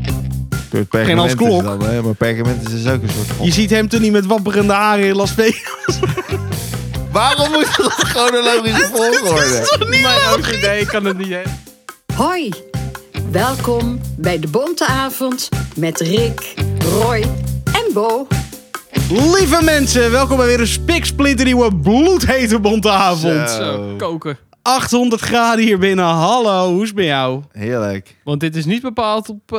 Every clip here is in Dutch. Door het perkament Hans is Klok. het dan, hè? Maar perkament is dus ook een soort van... Je ziet hem toen niet met wapperende haren in Las Vegas. Waarom moet dat chronologische volgorde? Mijn geen idee, ik kan het niet. Hè. Hoi, welkom bij de Bonte Avond met Rick, Roy en Bo. Lieve mensen, welkom bij weer een spiksplinternieuwe bloedhete bonte avond. Zo. koken. 800 graden hier binnen. Hallo, hoe is het bij jou? Heerlijk. Want dit is niet bepaald op eh,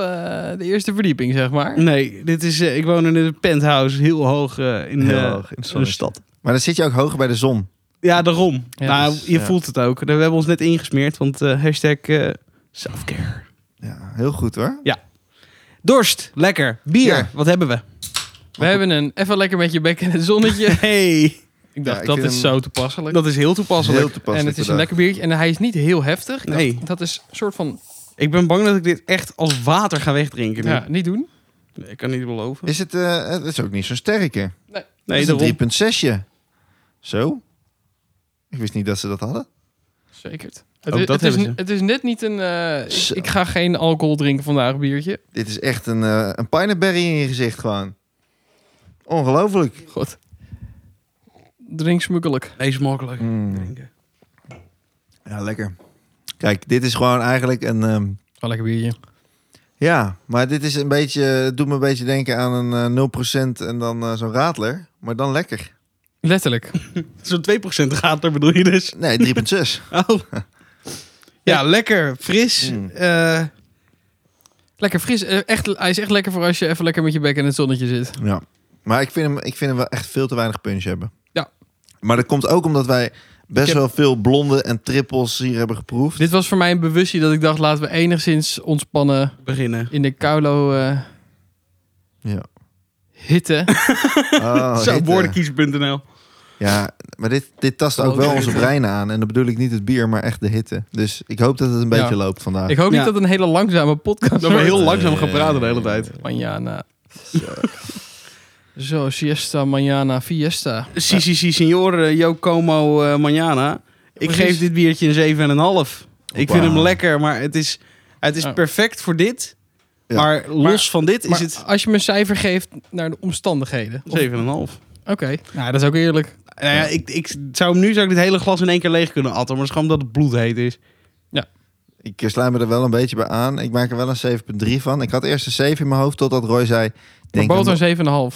de eerste verdieping, zeg maar. Nee, dit is, eh, ik woon in een penthouse heel hoog eh, in, Heel eh, hoog in het de zonnetje. stad. Maar dan zit je ook hoger bij de zon. Ja, daarom. Ja, nou, dus, je ja. voelt het ook. We hebben ons net ingesmeerd, want eh, hashtag eh, selfcare. Ja, heel goed hoor. Dorst, lekker. Bier, Ja. wat hebben we? Mm. We hebben een even lekker met je bek in het zonnetje. Hey, ik Ja, dacht, ik dat vind is hem zo toepasselijk. dat is heel toepasselijk. Heel toepasselijk en het is een vandaag. lekker biertje. En hij is niet heel heftig. Ik dacht, Nee. dat is een soort van, Ik ben bang dat ik dit echt als water ga wegdrinken. nu. ja, niet doen. Nee, ik kan niet beloven. Is het, eh, het is ook niet zo sterk hè? nee, het daarom. is een 3.6. Zo. Ik wist niet dat ze dat hadden. Zeker. Het, Ook is- Oh, dat het, is, hebben ze. het is net niet een... eh, ik, Zo. ik ga geen alcohol drinken vandaag, biertje. Dit is echt een, eh een pineberry in je gezicht gewoon. Ongelooflijk. God. Drink smukkelijk. Wees makkelijk. Mm. drinken. Ja, lekker. Kijk, dit is gewoon eigenlijk een... ehm, Wel lekker biertje. ja, maar dit is een beetje... Het doet me een beetje denken aan een eh 0% en dan eh, zo'n radler. Maar dan lekker. Letterlijk. Zo'n 2% gaat er bedoel je dus? Nee, 3.6. Oh. Ja, lekker, fris. Mm. Eh, Lekker fris. Eh, Echt, hij is echt lekker voor als je even lekker met je bek in het zonnetje zit. Ja. Maar ik vind, hem, ik vind hem wel echt veel te weinig punch hebben. Ja. Maar dat komt ook omdat wij best Ik heb- wel veel blonde en trippels hier hebben geproefd. Dit was voor mij een bewustzijn dat ik dacht, laten we enigszins ontspannen beginnen. in de koulo eh, Ja. hitte. Oh, Zo, hitte. woordenkiezen.nl. Ja, maar dit, dit tast ook Oh, wel de onze hitte. breinen aan. En dan bedoel ik niet het bier, maar echt de hitte. Dus ik hoop dat het een Ja. beetje loopt vandaag. ik hoop Ja. niet dat het een hele langzame podcast Dat we wordt. heel langzaam gaan praten de hele tijd. Manjana. Zo, siesta, manjana, fiesta. Si, si, si, signore, yo como eh, mañana. Ik Precies. geef dit biertje een 7,5. Ik Wauw. vind hem lekker, maar het is, het is Ja. perfect voor dit. Ja. Maar los Maar- van dit Maar is het als je me een cijfer geeft naar de omstandigheden. Of- 7,5. Oké, nou, dat is ook eerlijk. Nou ja, ik, ik zou hem nu zou ik dit hele glas in één keer leeg kunnen atten. Maar het is gewoon omdat het bloedheet is. Ik sluit me er wel een beetje bij aan. Ik maak er wel een 7.3 van. Ik had eerst een 7 in mijn hoofd totdat Roy zei... Maar Denk aan de- boter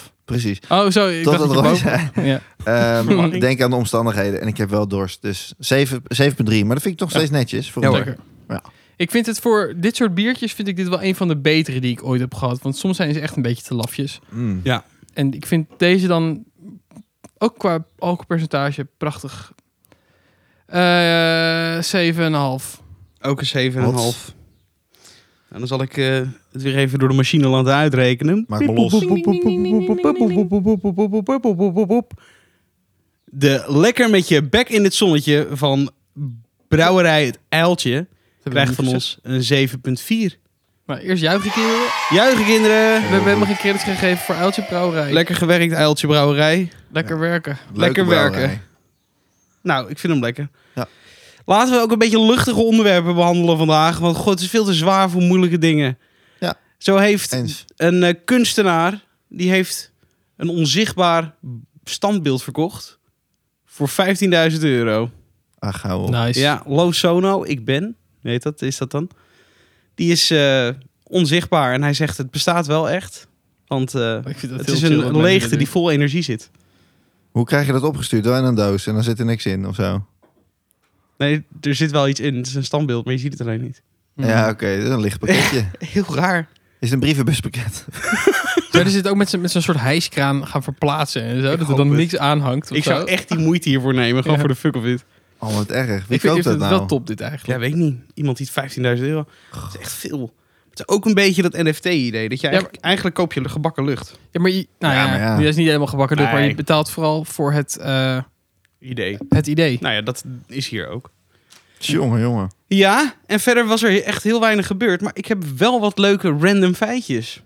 7,5. Precies. Oh, zo. Ik dacht Totdat dat Roy je zei... boter... Ja. ehm, denk aan de omstandigheden. En ik heb wel dorst. Dus 7, 7.3. Maar dat vind ik toch steeds netjes. Voor Ja, een- hoor. Ja. Ik vind het voor dit soort biertjes vind ik dit wel een van de betere die ik ooit heb gehad. Want soms zijn ze echt een beetje te lafjes. Mm. En ik vind deze dan ook qua alcoholpercentage prachtig. Eh 7,5. Ook een 7,5. En dan zal ik eh, het weer even door de machine laten uitrekenen. Maak me los. De lekker met je bek in het zonnetje van brouwerij Het Eiltje krijgt van ons een 7,4. Maar Nou, eerst juichen kinderen. Juichen kinderen! We hebben helemaal geen credits gegeven voor Uiltje Brouwerij. Lekker gewerkt Eiltje Brouwerij. Lekker werken. Leuke Lekker werken. brouwerij. Nou, ik vind hem lekker. Ja. Laten we ook een beetje luchtige onderwerpen behandelen vandaag. Want god, het is veel te zwaar voor moeilijke dingen. Ja. Zo heeft Eens. een eh, kunstenaar, die heeft een onzichtbaar standbeeld verkocht. Voor 15.000 euro. Ach, hou Ah, op. Nice. Ja, Lo Sono, ik ben. Weet dat, is dat dan? Die is eh, onzichtbaar en hij zegt het bestaat wel echt. Want eh, Ik vind dat het heel is chill dat een mensen leegte die dit doen. vol energie zit. Hoe krijg je dat opgestuurd? Door in een doos en dan zit er niks in of zo. Nee, er zit wel iets in. Het is een standbeeld, maar je ziet het alleen niet. Ja, oké. Mm. dat is een licht pakketje. Heel raar. Is het een brievenbuspakket? Zouden ze dit ook met zo'n met zo'n soort hijskraan gaan verplaatsen en zo? dat er hoop dan het. niks aanhangt. of Ik zo. zou echt die moeite hiervoor nemen. Gewoon Ja. voor de fuck of dit. Oh, wat erg. Wie ik vind koopt ik vind dat het nou? wel top dit eigenlijk. Ja, weet ik niet. Iemand die het 15.000 euro. Dat is echt veel. Het is ook een beetje dat NFT-idee. Dat je Ja, eigenlijk, eigenlijk koop je gebakken lucht. Ja, maar, je- nou Ja, ja, maar ja. die is niet helemaal gebakken door, maar Nee. je betaalt vooral voor het, eh, Idee. het idee. Nou ja, dat is hier ook. Jongen, jongen. Ja, en verder was er echt heel weinig gebeurd. Maar ik heb wel wat leuke random feitjes.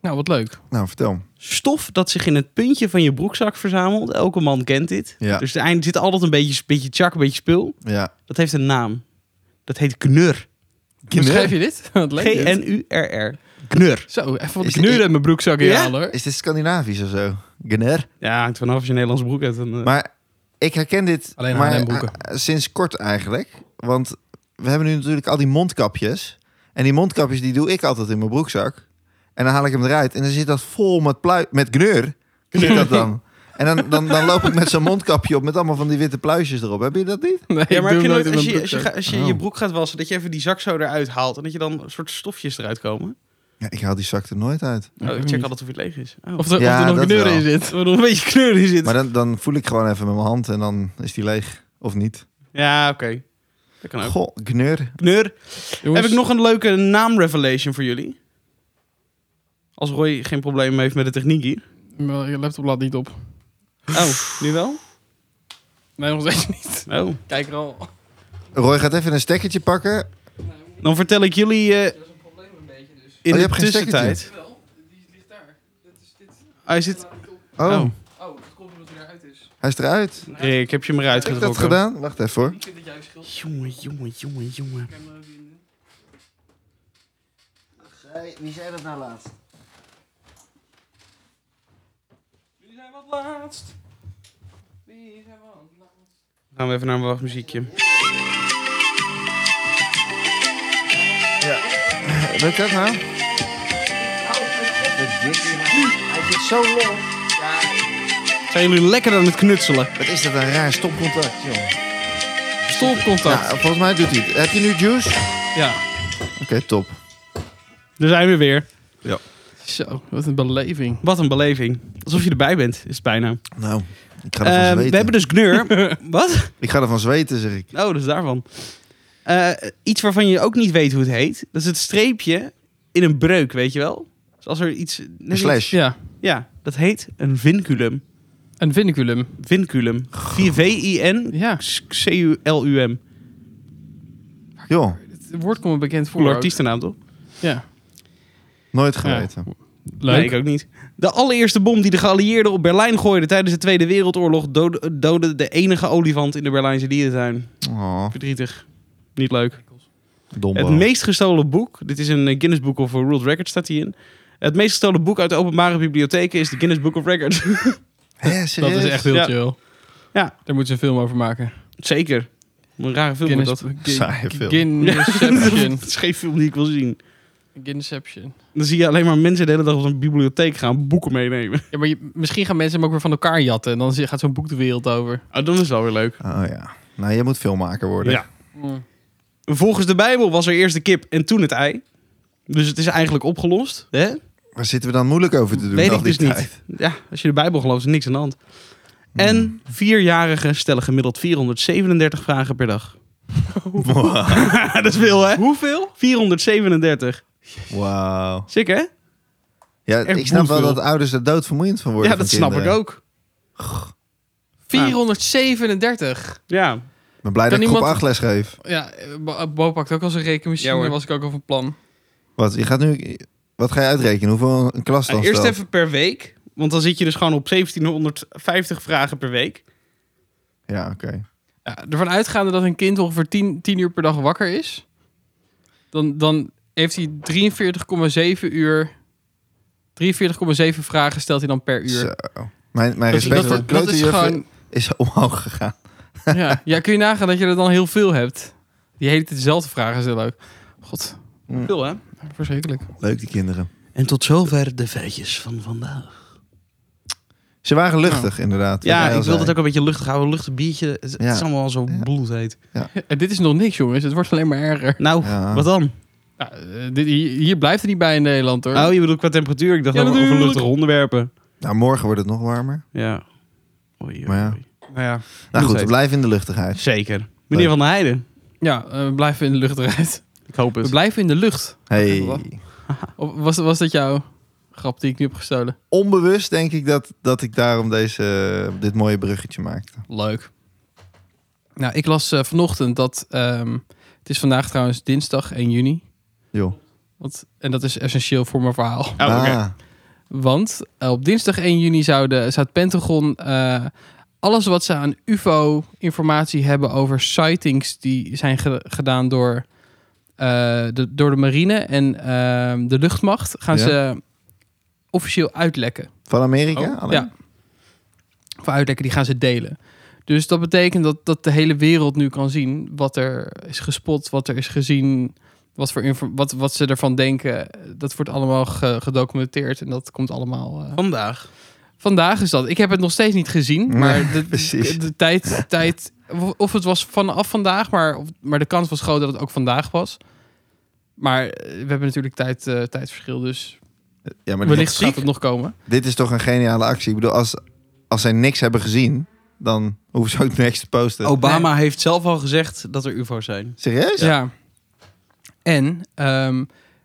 Nou, wat leuk. Nou, vertel. Stof dat zich in het puntje van je broekzak verzamelt. Elke man kent dit. Ja. Dus er zit altijd een beetje, beetje tjak, een beetje spul. Ja. Dat heeft een naam. Dat heet knur. Hoe schrijf je dit? Wat leuk dit. G-N-U-R-R. Knur. Zo, even wat Is- knurren in mijn broekzak hier Ja? halen hoor. Is dit Scandinavisch of zo? Gner. Ja, hangt vanaf als je een Nederlands broek hebt. Dan, eh, Maar ik herken dit Alleen maar, Haarlemboeken. eh, sinds kort eigenlijk. Want we hebben nu natuurlijk al die mondkapjes. En die mondkapjes die doe ik altijd in mijn broekzak. En dan haal ik hem eruit. En dan zit dat vol met, plui met gneur. Zit dat dan. En dan, dan, dan loop ik met zo'n mondkapje op met allemaal van die witte pluisjes erop. Heb je dat niet? Nee, ja, maar heb je ik doe hem nooit, nooit als, in je, mijn als, je, broekzak. Oh. ga- als je je broek gaat wassen, dat je even die zak zo eruit haalt en dat je dan een soort stofjes eruit komen? Ja, ik haal die zak er nooit uit. Oh, ik weet check niet. altijd of het leeg is. Oh. Of er, Ja, of er nog dat knurren in wel. zit. er nog een beetje kleur in zit. Maar dan, dan voel ik gewoon even met mijn hand en dan is die leeg. Of niet. Ja, oké. Dat kan ook. Goh, gneur. Knur. Jongens, Heb ik nog een leuke naam-revelation voor jullie? Als Roy geen probleem heeft met de techniek hier. mijn eh, laptop laat niet op. Oh, nu wel? Nee, nog steeds niet. Oh. Kijk er al. Roy gaat even een stekkertje pakken. Dan vertel ik jullie eh, in Oh, je de hebt geen tussentijd. Hij zit... Oh, Oh. Oh, het komt omdat hij eruit is. hij is eruit. Rick, heb je hem eruit Heb ik dat getrokken? gedaan? Wacht even hoor. Ik vind dat jij schild. Jongen, jongen, jongen, jongen. Wie zei dat nou laatst? Jullie zijn wat laatst. Jullie zijn wat laatst. Gaan we even naar een wachtmuziekje. Lukt dat nou? Zijn jullie lekker aan het knutselen? Wat is dat een raar stopcontact, joh. Stopcontact. Ja, volgens mij doet hij het. Heb je nu juice? Ja. Oké, top. Daar zijn we weer. Zo, wat een beleving. Wat een beleving. Alsof je erbij bent, is het bijna. Nou, ik ga ervan Eh, we zweten. hebben dus Gnur. Wat? Ik ga ervan zweten, zeg ik. Oh, dus daarvan. Eh, iets waarvan je ook niet weet hoe het heet. Dat is het streepje in een breuk, weet je wel? Dus als er iets... Een slash. Ja, Ja, dat heet een vinculum. een vinculum. Vinculum. Ja, V-I-N-C-U-L-U-M. Joh, het woord komt me bekend voor. Coole ook. artiestennaam, toch? Ja, nooit geweten. leuk. Nee, ik ook niet. De allereerste bom die de geallieerden op Berlijn gooiden tijdens de Tweede Wereldoorlog doodde, doodde de enige olifant in de Berlijnse dierentuin. Oh, Verdrietig. Niet leuk. dombo. Het meest gestolen boek, dit is een eh, Guinness Book of World Record, staat hierin. Het meest gestolen boek uit de openbare bibliotheken is de Guinness Book of Records. Hè, Dat serieus? is echt heel Ja. chill. Ja. Daar moeten ze een film over maken. Zeker. Een rare film wordt dat. Guin- Saaie film. Guinception. Dat is geen film die ik wil zien. Guinception. Dan zie je alleen maar mensen de hele dag op een bibliotheek gaan boeken meenemen. Ja, maar je- misschien gaan mensen hem ook weer van elkaar jatten. En dan zie- gaat zo'n boek de wereld over. Ah, dan is het wel weer leuk. Oh ja. Nou, je moet filmmaker worden. Ja. Volgens de Bijbel was er eerst de kip en toen het ei. Dus het is eigenlijk opgelost. Hè? Waar zitten we dan moeilijk over te doen? Weet al ik die dus niet. tijd? Ja, als je de Bijbel gelooft, is niks aan de hand. En vierjarigen stellen gemiddeld 437 vragen per dag. Wow. dat is veel, hè? Hoeveel? 437. Wauw. Sick, hè? Ja, Echt ik snap wel boezem. dat ouders er doodvermoeiend van worden. Ja, dat snap ik ook. 437. Ja. Ik ben blij Kan dat ik groep iemand- 8 les geef. Ja, eh, Bo, Bo pakt ook al zijn rekenmachine. Ja, hoor. was ik ook al van plan. Wat, je gaat nu... Wat ga je uitrekenen? Hoeveel een klas Nou, dan eerst stelt? even per week. Want dan zit je dus gewoon op 1750 vragen per week. Ja, oké. Ja, ervan uitgaande dat een kind ongeveer 10, 10 uur per dag wakker is. Dan, dan heeft hij 43,7 uur... 43,7 vragen stelt hij dan per uur. Zo. Mijn, mijn Dat, respect dat, voor dat, dat is klote juffen gewoon... is omhoog gegaan. Ja. ja, kun je nagaan dat je er dan heel veel hebt. Die hele tijd dezelfde vragen stellen ook. God, Hm. Veel, hè? verschrikkelijk. Leuk, die kinderen. En tot zover de feitjes van vandaag. Ze waren Nou. luchtig, inderdaad. Ja, wat jij al ik wil zei. dat ook een beetje luchtig houden. Een luchtig biertje. Het, het Ja. is allemaal zo Ja. bloedheet. En dit is nog niks, jongens. Het wordt alleen maar erger. Nou, Ja. wat dan? Ja, eh, dit, hier, hier blijft het niet bij in Nederland, hoor. Oh, je bedoelt qua temperatuur. Ik dacht Ja, over- over natuurlijk. luchtige onderwerpen. Nou, morgen wordt het nog warmer. Ja. Oei, oei, Maar ja. oei. Nou ja, Nou goed, heet. we blijven in de luchtigheid. zeker. Meneer Leuk. Van der Heijden. Ja, eh, we blijven in de lucht eruit. Ik hoop We het. blijven in de lucht. Hey. Of was, was dat jouw grap die ik nu heb gestolen? Onbewust denk ik dat, dat ik daarom deze, dit mooie bruggetje maakte. Leuk. Nou, ik las eh, vanochtend dat... ehm, het is vandaag trouwens dinsdag 1 juni. Oh, Joh. Want, en dat is essentieel voor mijn verhaal. Oh, oké. Ah, Want eh, op dinsdag 1 juni zou, de, zou het Pentagon eh, alles wat ze aan UFO-informatie hebben over sightings die zijn ge- gedaan door eh, eh, de, door de marine en ehm, de luchtmacht gaan Ja. ze officieel uitlekken. Van Amerika? Oh, alleen? ja. Of uitlekken, die gaan ze delen. Dus dat betekent dat, dat de hele wereld nu kan zien wat er is gespot, wat er is gezien, wat, voor info- wat, wat ze ervan denken. Dat wordt allemaal ge- gedocumenteerd en dat komt allemaal. eh, Vandaag. Vandaag is dat. Ik heb het nog steeds niet gezien, Nee, maar de, precies. de, de tijd, tijd, of- of het was vanaf vandaag, maar, of- maar de kans was groot dat het ook vandaag was. Maar eh, we hebben natuurlijk tijd, eh, tijdverschil, dus ja, maar dit, wellicht gaat het nog komen. dit is toch een geniale actie. Ik bedoel, als, als zij niks hebben gezien, dan hoeven ze ook niks te posten. Obama heeft zelf al gezegd dat er UFO's zijn. Serieus? Oh, Ja. En ehm,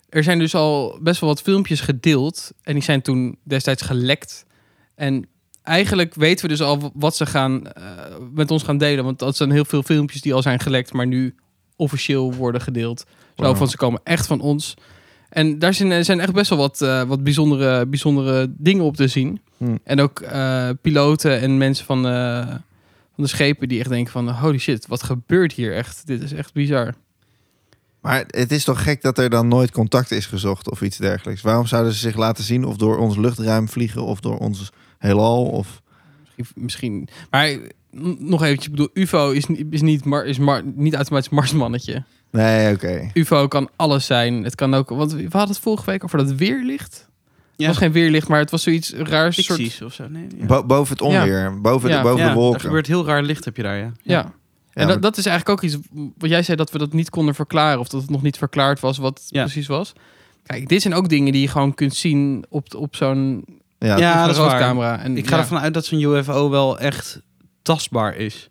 er zijn dus al best wel wat filmpjes gedeeld. En die zijn toen destijds gelekt. En eigenlijk weten we dus al wat ze gaan, eh, met ons gaan delen. Want dat zijn heel veel filmpjes die al zijn gelekt, maar nu officieel worden gedeeld. Zo Wauw. van ze komen echt van ons. En daar zijn, zijn echt best wel wat, eh, wat bijzondere, bijzondere dingen op te zien. Hmm. En ook eh, piloten en mensen van, eh, van de schepen die echt denken van... holy shit, wat gebeurt hier echt? Dit is echt bizar. Maar het is toch gek dat er dan nooit contact is gezocht of iets dergelijks. Waarom zouden ze zich laten zien of door ons luchtruim vliegen of door ons heelal? Of... Misschien- Misschien. Maar n- nog eventjes, ik bedoel, UFO is, ni- is, niet, mar, is mar, niet automatisch Marsmannetje. Nee, oké. UFO kan alles zijn. Het kan ook, want we hadden het vorige week over dat weerlicht. Het was geen weerlicht, maar het was zoiets raars. Soort, Ficties of zo. Nee, ja. Bo- boven het onweer, boven, de, Ja. boven Ja, de Er wolken. gebeurt heel raar licht heb je daar, ja. ja. Ja, en maar- dat, dat is eigenlijk ook iets wat jij zei dat we dat niet konden verklaren of dat het nog niet verklaard was wat het Ja. precies was. Kijk, dit zijn ook dingen die je gewoon kunt zien op, op zo'n Ja, Ja. dat is waar. infraroodcamera. En Ik ga ja. ervan uit dat zo'n UFO wel echt tastbaar is.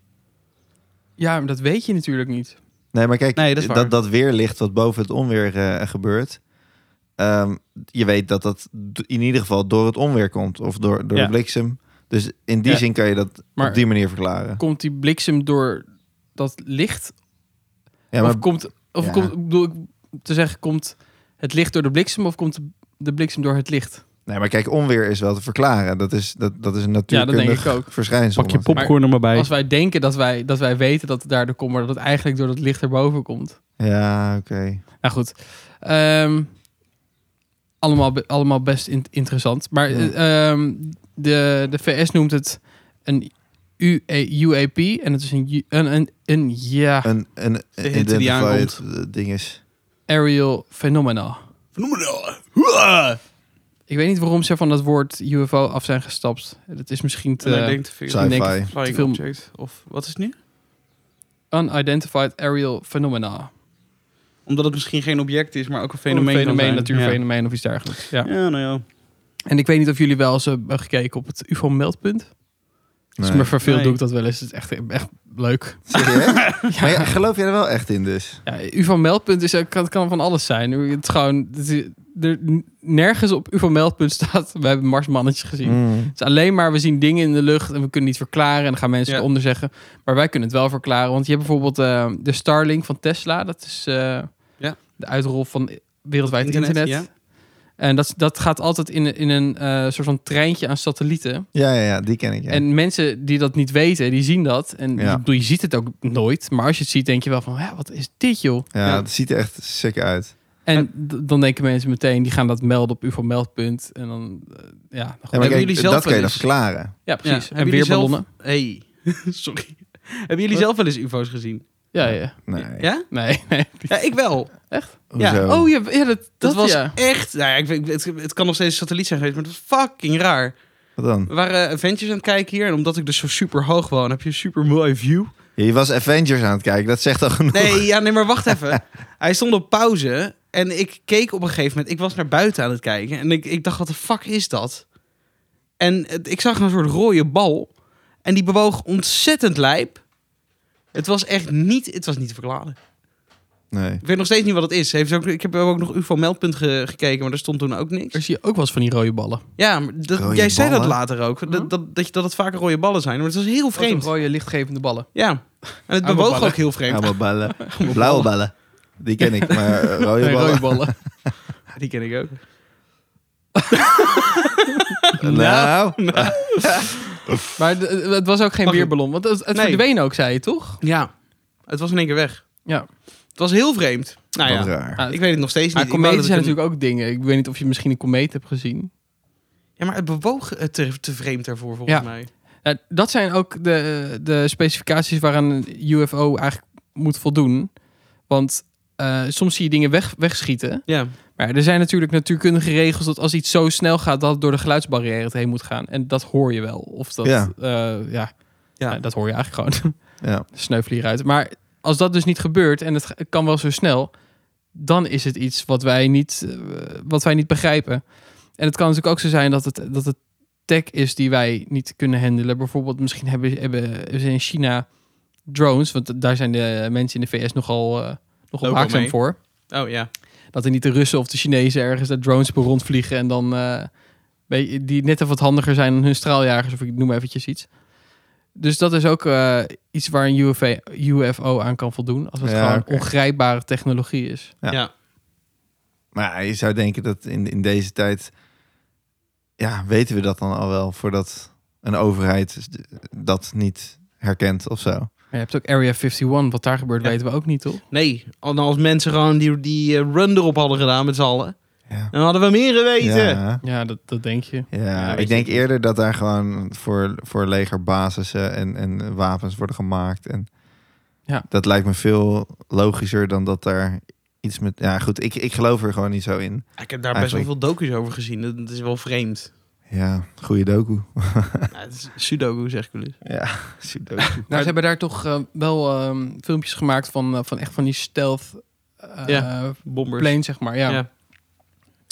Ja, maar dat weet je natuurlijk niet. Nee, maar kijk, Nee, dat is dat, waar. dat, weerlicht wat boven het onweer eh, gebeurt. ehm, je weet dat dat d- in ieder geval door het onweer komt of door, door Ja. de bliksem. Dus in die Ja. zin kan je dat Maar- op die manier verklaren. Komt die bliksem door dat licht Ja, maar Of komt, of ja. komt, ik bedoel ik te zeggen, komt het licht door de bliksem of komt de- de bliksem door het licht? Nee, maar kijk, onweer is wel te verklaren. Dat is, dat, dat is een denk ik natuurkundig ook. verschijnsel. popcorn Maar er maar bij. Als wij denken dat wij, dat wij weten dat het daardoor komt, maar dat het eigenlijk door dat licht erboven komt. Ja, oké. Nou goed. Ehm, allemaal, be- allemaal best in- interessant. Maar Ja. eh, ehm, de, de VS noemt het een E-, UA, UAP. En het is een, ju- een, een, een ja, Een, een hit Ah, die identified eh, ding is. aerial phenomena. nou. Ik weet niet waarom ze van dat woord UFO af zijn gestapt. Dat is misschien te... Sci-fi. denk Flying Film. object. Of wat is het nu? Unidentified Aerial Oh, Phenomena. Omdat het misschien geen object is, maar ook een Fenomeen, fenomeen. kan zijn. natuurfenomeen of iets dergelijks. Ja. Ja. ja, nou ja. En ik weet niet of jullie wel eens hebben gekeken op het UFO-meldpunt. Als ik Nee. me verveel Nee. doe ik dat wel eens. Het is echt, echt leuk. Serieus? Maar ja, geloof jij er wel echt in dus? Ja, UFO-meldpunt is, ook- kan, kan van alles zijn. Het is gewoon, het is- er, nergens op UFO-meldpunt staat... we hebben Marsmannetjes gezien. Mm. Het is alleen maar, we zien dingen in de lucht en we kunnen niet verklaren. En dan gaan mensen Ja. eronder zeggen. Maar wij kunnen het wel verklaren. Want je hebt bijvoorbeeld eh, de Starlink van Tesla. Dat is eh, Ja. de uitrol van wereldwijd Internet, internet. En dat, dat gaat altijd in, een- in een eh, soort van treintje aan satellieten. Ja, ja, ja, die ken ik. Ja. En mensen die dat niet weten, die zien dat. En Ja. ik bedoel, je ziet het ook nooit. Maar als je het ziet, denk je wel van, "Hè, wat is dit joh? ja, ja. het ziet er echt sick uit. En d- dan denken mensen meteen, die gaan dat melden op ufo-meldpunt. En dan, eh, ja. Ja, dan gewoon- maar Hebben kijk, jullie zelf dat kan je wel dan eens- verklaren. ja, precies. Ja. En Hebben jullie zelf- weerballonnen. Hey. Sorry. Hebben jullie zelf wel eens UFO's gezien? Ja, ja. Nee. Ja? Nee, nee. Ja, ik wel. Hoezo? Ja, Oh ja, ja dat, dat, Dat, was was... echt. Nou ja, ik weet, het, het kan nog steeds een satelliet zijn geweest, maar dat was fucking raar. Wat dan? We waren Avengers aan het kijken hier. En omdat ik dus zo super hoog woon, heb je een super mooi view. Je was Avengers aan het kijken, dat zegt al genoeg. Nee, ja, nee, maar wacht even. Hij stond op pauze. En ik keek op een gegeven moment. Ik was naar buiten aan het kijken. En ik, ik dacht, wat de fuck is dat? En het- ik zag een soort rode bal. En die bewoog ontzettend lijp. Het was echt niet, het was niet te verklaren. Nee. Ik weet nog steeds niet wat het is. Heeft ook, ik heb ook nog UFO-meldpunt ge- gekeken, maar daar stond toen ook niks. Er zie je ook wel eens van die rode ballen. Ja, maar dat- Rode jij zei dat ballen? later ook. Dat, dat, dat, je- dat het vaker rode ballen zijn. Maar het was heel vreemd. Ook Rode lichtgevende ballen. Ja. En het Oude bewoog ballen. ook heel vreemd. Allemaal ballen. Blauwe ballen. Die ken ik, maar eh, rode Nee, ballen. rode ballen. Die ken ik ook. Nou, maar d- het was ook geen Mag ik- weerballon. Want het, het Nee. verdween ook, zei je toch? Ja. Het was in één keer weg. Ja. Het was heel vreemd. Nou Wat ja, raar. Ah, ik weet het nog steeds niet. Maar Ik wou dat kometen ik zijn een- natuurlijk ook dingen. Ik weet niet of je misschien een komeet hebt gezien. Ja, maar het bewoog eh, te, te vreemd daarvoor, volgens Ja. mij. Ja, dat zijn ook de, de specificaties waaraan een UFO eigenlijk moet voldoen. Want eh, soms zie je dingen weg, wegschieten. Ja. Maar ja, er zijn natuurlijk natuurkundige regels dat als iets zo snel gaat, dat het door de geluidsbarrière het heen moet gaan. En dat hoor je wel. Of dat, Ja. eh, ja. Ja. Nou, dat hoor je eigenlijk gewoon. Ja. Sneuvelen hieruit. Maar als dat dus niet gebeurt en het ge- kan wel zo snel, dan is het iets wat wij niet, eh, wat wij niet begrijpen. En het kan natuurlijk ook zo zijn dat het, dat het tech is die wij niet kunnen handelen. Bijvoorbeeld, misschien hebben, hebben, hebben ze in China drones, want daar zijn de mensen in de VS nogal, eh nogal Ook al waakzaam mee. voor. Oh ja. Dat er niet de Russen of de Chinezen ergens dat drones per rondvliegen en dan eh, weet je, die net even wat handiger zijn dan hun straaljagers of ik noem eventjes iets. Dus dat is ook eh, iets waar een UFO, UFO aan kan voldoen. Als het Ja, gewoon oké. ongrijpbare technologie is. Ja. Ja. Maar ja, je zou denken dat in, in deze tijd... Ja, weten we dat dan al wel voordat een overheid dat niet herkent of zo? Maar je hebt ook Area 51. Wat daar gebeurt Ja. weten we ook niet, toch? Nee, al- nou, als mensen gewoon die, die eh, run erop hadden gedaan met z'n allen, Ja. dan hadden we meer geweten. Ja, Ja, dat, dat denk je. ja, weet ik ik denk niet. eerder dat daar gewoon voor, voor legerbasissen en, en wapens worden gemaakt. En Ja. Dat lijkt me veel logischer dan dat daar iets met... Ja, goed, ik, ik geloof er gewoon niet zo in. Ik heb daar best wel Eigenlijk- veel docu's over gezien. Dat, dat is wel vreemd. Ja, goede doku. ja, het is sudoku, zeg ik wel eens. Ja, sudoku. Nou, ze hebben daar toch eh, wel ehm, filmpjes gemaakt van, eh, van echt van die stealth eh Ja. Bombers. plane, zeg maar. Ja. Ja.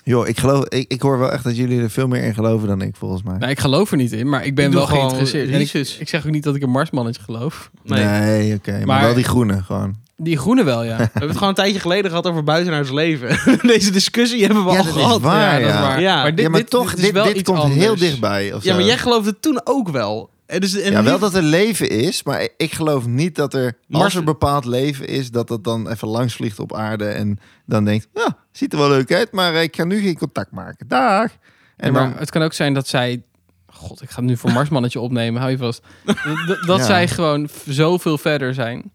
Joh, ik, geloof, ik, ik hoor wel echt dat jullie er veel meer in geloven dan ik, volgens mij. Nou, ik geloof er niet in, maar ik ben Ik doe wel gewoon geïnteresseerd. En ik, research. ik zeg ook niet dat ik een Marsmannetje geloof. Nee. Nee, oké. Maar, Maar- wel die groene gewoon. Die groene wel, ja. We hebben het gewoon een tijdje geleden gehad over buitenaards leven. Deze discussie hebben we Ja, al dat is gehad. waar. dat is ja. waar. Ja. Maar dit, ja, maar dit, toch, dit dit, is dit, wel iets komt anders. heel dichtbij. Of Ja, zo. maar jij geloofde het toen ook wel. En dus, en Ja, nu- wel dat er leven is, maar ik geloof niet dat er, als Mars- er bepaald leven is, dat dat dan even langs vliegt op aarde en dan denkt, ja, ziet er wel leuk uit, maar ik ga nu geen contact maken. Dag. En Ja, maar dan, het kan ook zijn dat zij... God, ik ga nu voor Marsmannetje opnemen, hou je vast. Dat- Dat, dat Ja. zij gewoon v- zoveel verder zijn.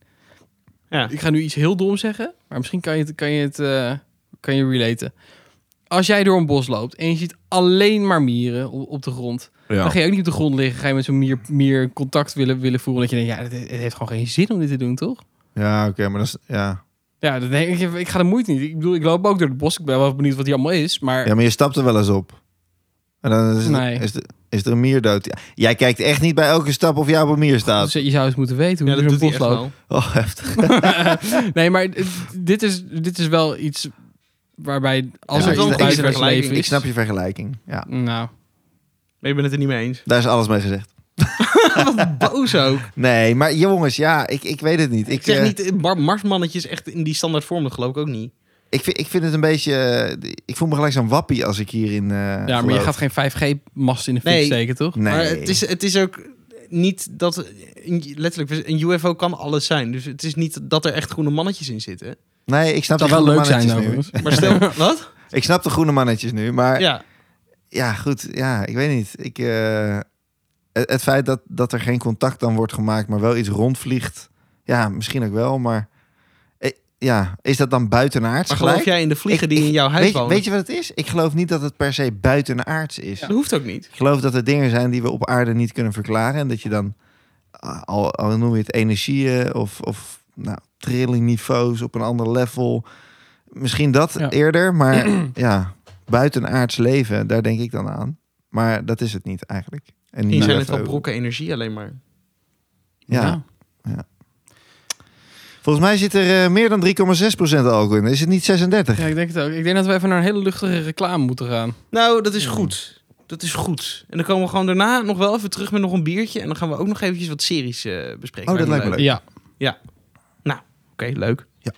Ja. Ik ga nu iets heel dom zeggen, maar misschien kan je het, kan je het eh, kan je relaten. Als jij door een bos loopt en je ziet alleen maar mieren op, op de grond... dan ga je ook niet op de grond liggen. Ga je met zo'n mier, mier contact willen, willen voeren. Dat je denkt, ja, het, het heeft gewoon geen zin om dit te doen, toch? ja oké, maar dat is, ja. Ja, dan denk ik, ik ga de moeite niet. Ik bedoel, ik loop ook door het bos. Ik ben wel benieuwd wat die allemaal is. Maar ja, maar je stapt er wel eens op. En dan is, het- Nee. is, de- is er een mier dood. Ja, Jij kijkt echt niet bij elke stap of jij op een mier staat. dus je zou eens moeten weten Ja, hoe dat je doet hij zo'n bos echt loopt. wel. Oh, heftig. nee, maar d- dit is, dit is wel iets waarbij als Ja, er ik snap- een ik buitenaards vergelijking. leven is... Ik snap je vergelijking. Ja, Nou, Maar ik ben het er niet mee eens. daar is alles mee gezegd. Wat boos ook. Nee, maar jongens, ja, ik, ik weet het niet. Ik zeg eh, niet, eh, Mar- Marsmannetjes echt in die standaard vorm, dat geloof ik ook niet. Ik vind, ik vind het een beetje... eh, ik voel me gelijk zo'n wappie als ik hierin eh ja, maar je geloof. gaat geen 5G-mast in de fik Nee. steken, toch? Nee. Maar het is, het is ook niet dat... een- Letterlijk, een UFO kan alles zijn. Dus het is niet dat er echt groene mannetjes in zitten. nee, ik snap Dat de zou groene wel leuk zijn, mannetjes nu. overigens. Maar stel... wat? Ik snap de groene mannetjes nu, maar ja, Ja. goed, ja, ik weet niet. Ik, eh, het, het feit dat, dat er geen contact dan wordt gemaakt, maar wel iets rondvliegt. Ja, misschien ook wel, maar eh, ja, is dat dan buitenaards Maar gelijk? geloof jij in de vliegen Ik- die in jouw huis weet, je- wonen? weet je wat het is? Ik geloof niet dat het per se buitenaards is. Dat hoeft ook niet. Ik geloof dat er dingen zijn die we op aarde niet kunnen verklaren. En dat je dan, ah, al, al noem je het energieën of, of nou, trillingniveaus op een ander level. Misschien dat Ja. eerder, maar ja, buitenaards leven, daar denk ik dan aan. Maar dat is het niet eigenlijk. En niet Hier zijn UFO. het wel brokken energie alleen maar. Ja. Volgens mij zit er eh, meer dan 3,6% alcohol in. Is het niet 36? Ja, ik denk het ook. Ik denk dat we even naar een hele luchtige reclame moeten gaan. Nou, dat is Hmm. goed. Dat is goed. En dan komen we gewoon daarna nog wel even terug met nog een biertje. En dan gaan we ook nog eventjes wat series eh, bespreken. Oh, dat lijkt me leuk. Ja. Oké, leuk. Ja.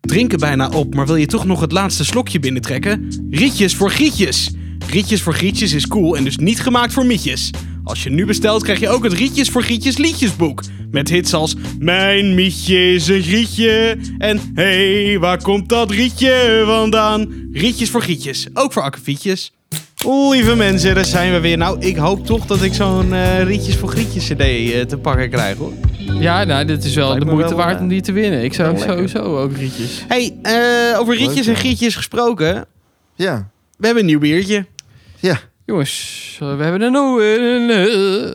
Drinken bijna op, maar wil je toch nog het laatste slokje binnentrekken? Rietjes voor Grietjes. Rietjes voor Grietjes is cool en dus niet gemaakt voor mietjes. Als je nu bestelt, krijg je ook het Rietjes voor Grietjes liedjesboek. Met hits als Mijn mietje is een grietje. En Hé, hey, waar komt dat rietje vandaan? Rietjes voor Grietjes, ook voor akkefietjes. Lieve mensen, daar zijn we weer. Nou, ik hoop toch dat ik zo'n eh, Rietjes voor Grietjes cd eh, te pakken krijg hoor. Ja, nou, dit is wel Lijkt de me moeite wel, waard eh, om die te winnen. Ik zou wel lekker. sowieso ook rietjes. Hey, eh, over rietjes Leuk, en gietjes gesproken. Ja. We hebben een nieuw biertje. Ja. Jongens, eh, we hebben een... oh, een- eh,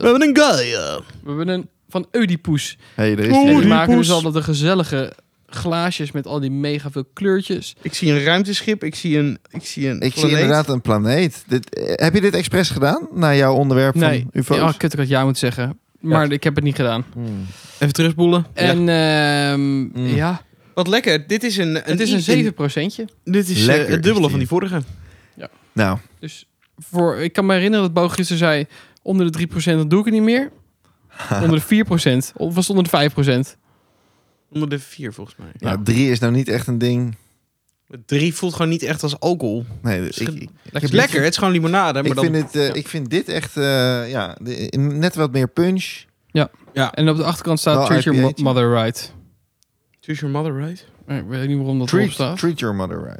We hebben een Gaia. We hebben een van Oedipus. Hey, er is Oh, En die. die Oedipus. maken dus altijd de gezellige glaasjes met al die mega veel kleurtjes. Ik zie een ruimteschip. Ik zie een, ik zie een Ik zie planeet. inderdaad een planeet. Dit, eh, heb je dit expres gedaan? Naar jouw onderwerp Nee, van UFO's? oh, kut, ik had jou moeten zeggen. Maar ik heb het niet gedaan. Hmm. Even terugspoelen. En ehm, Mm. ja, Wat lekker. Dit is een... het is een 7 procentje. Dit is eh, Lekker is het dubbele die. van die vorige. Nou, Dus voor, ik kan me herinneren dat Bo gisteren zei... onder de 3% dan doe ik het niet meer. onder de 4%. Of was het onder de 5%? Onder de vier volgens mij. ja, drie is nou niet echt een ding. Maar Drie voelt gewoon niet echt als alcohol. Nee, ik, Schil- ik, Het is lekker. Het is gewoon limonade. Maar ik, dan... vind dit, eh, ik vind dit echt eh, ja, de- net wat meer punch. En op de achterkant staat Wel Treat Your IPA'tje. Mo- Mother Right. Choose your mother, right? Eh, Ik weet niet waarom dat erop Treat, staat. treat your mother right.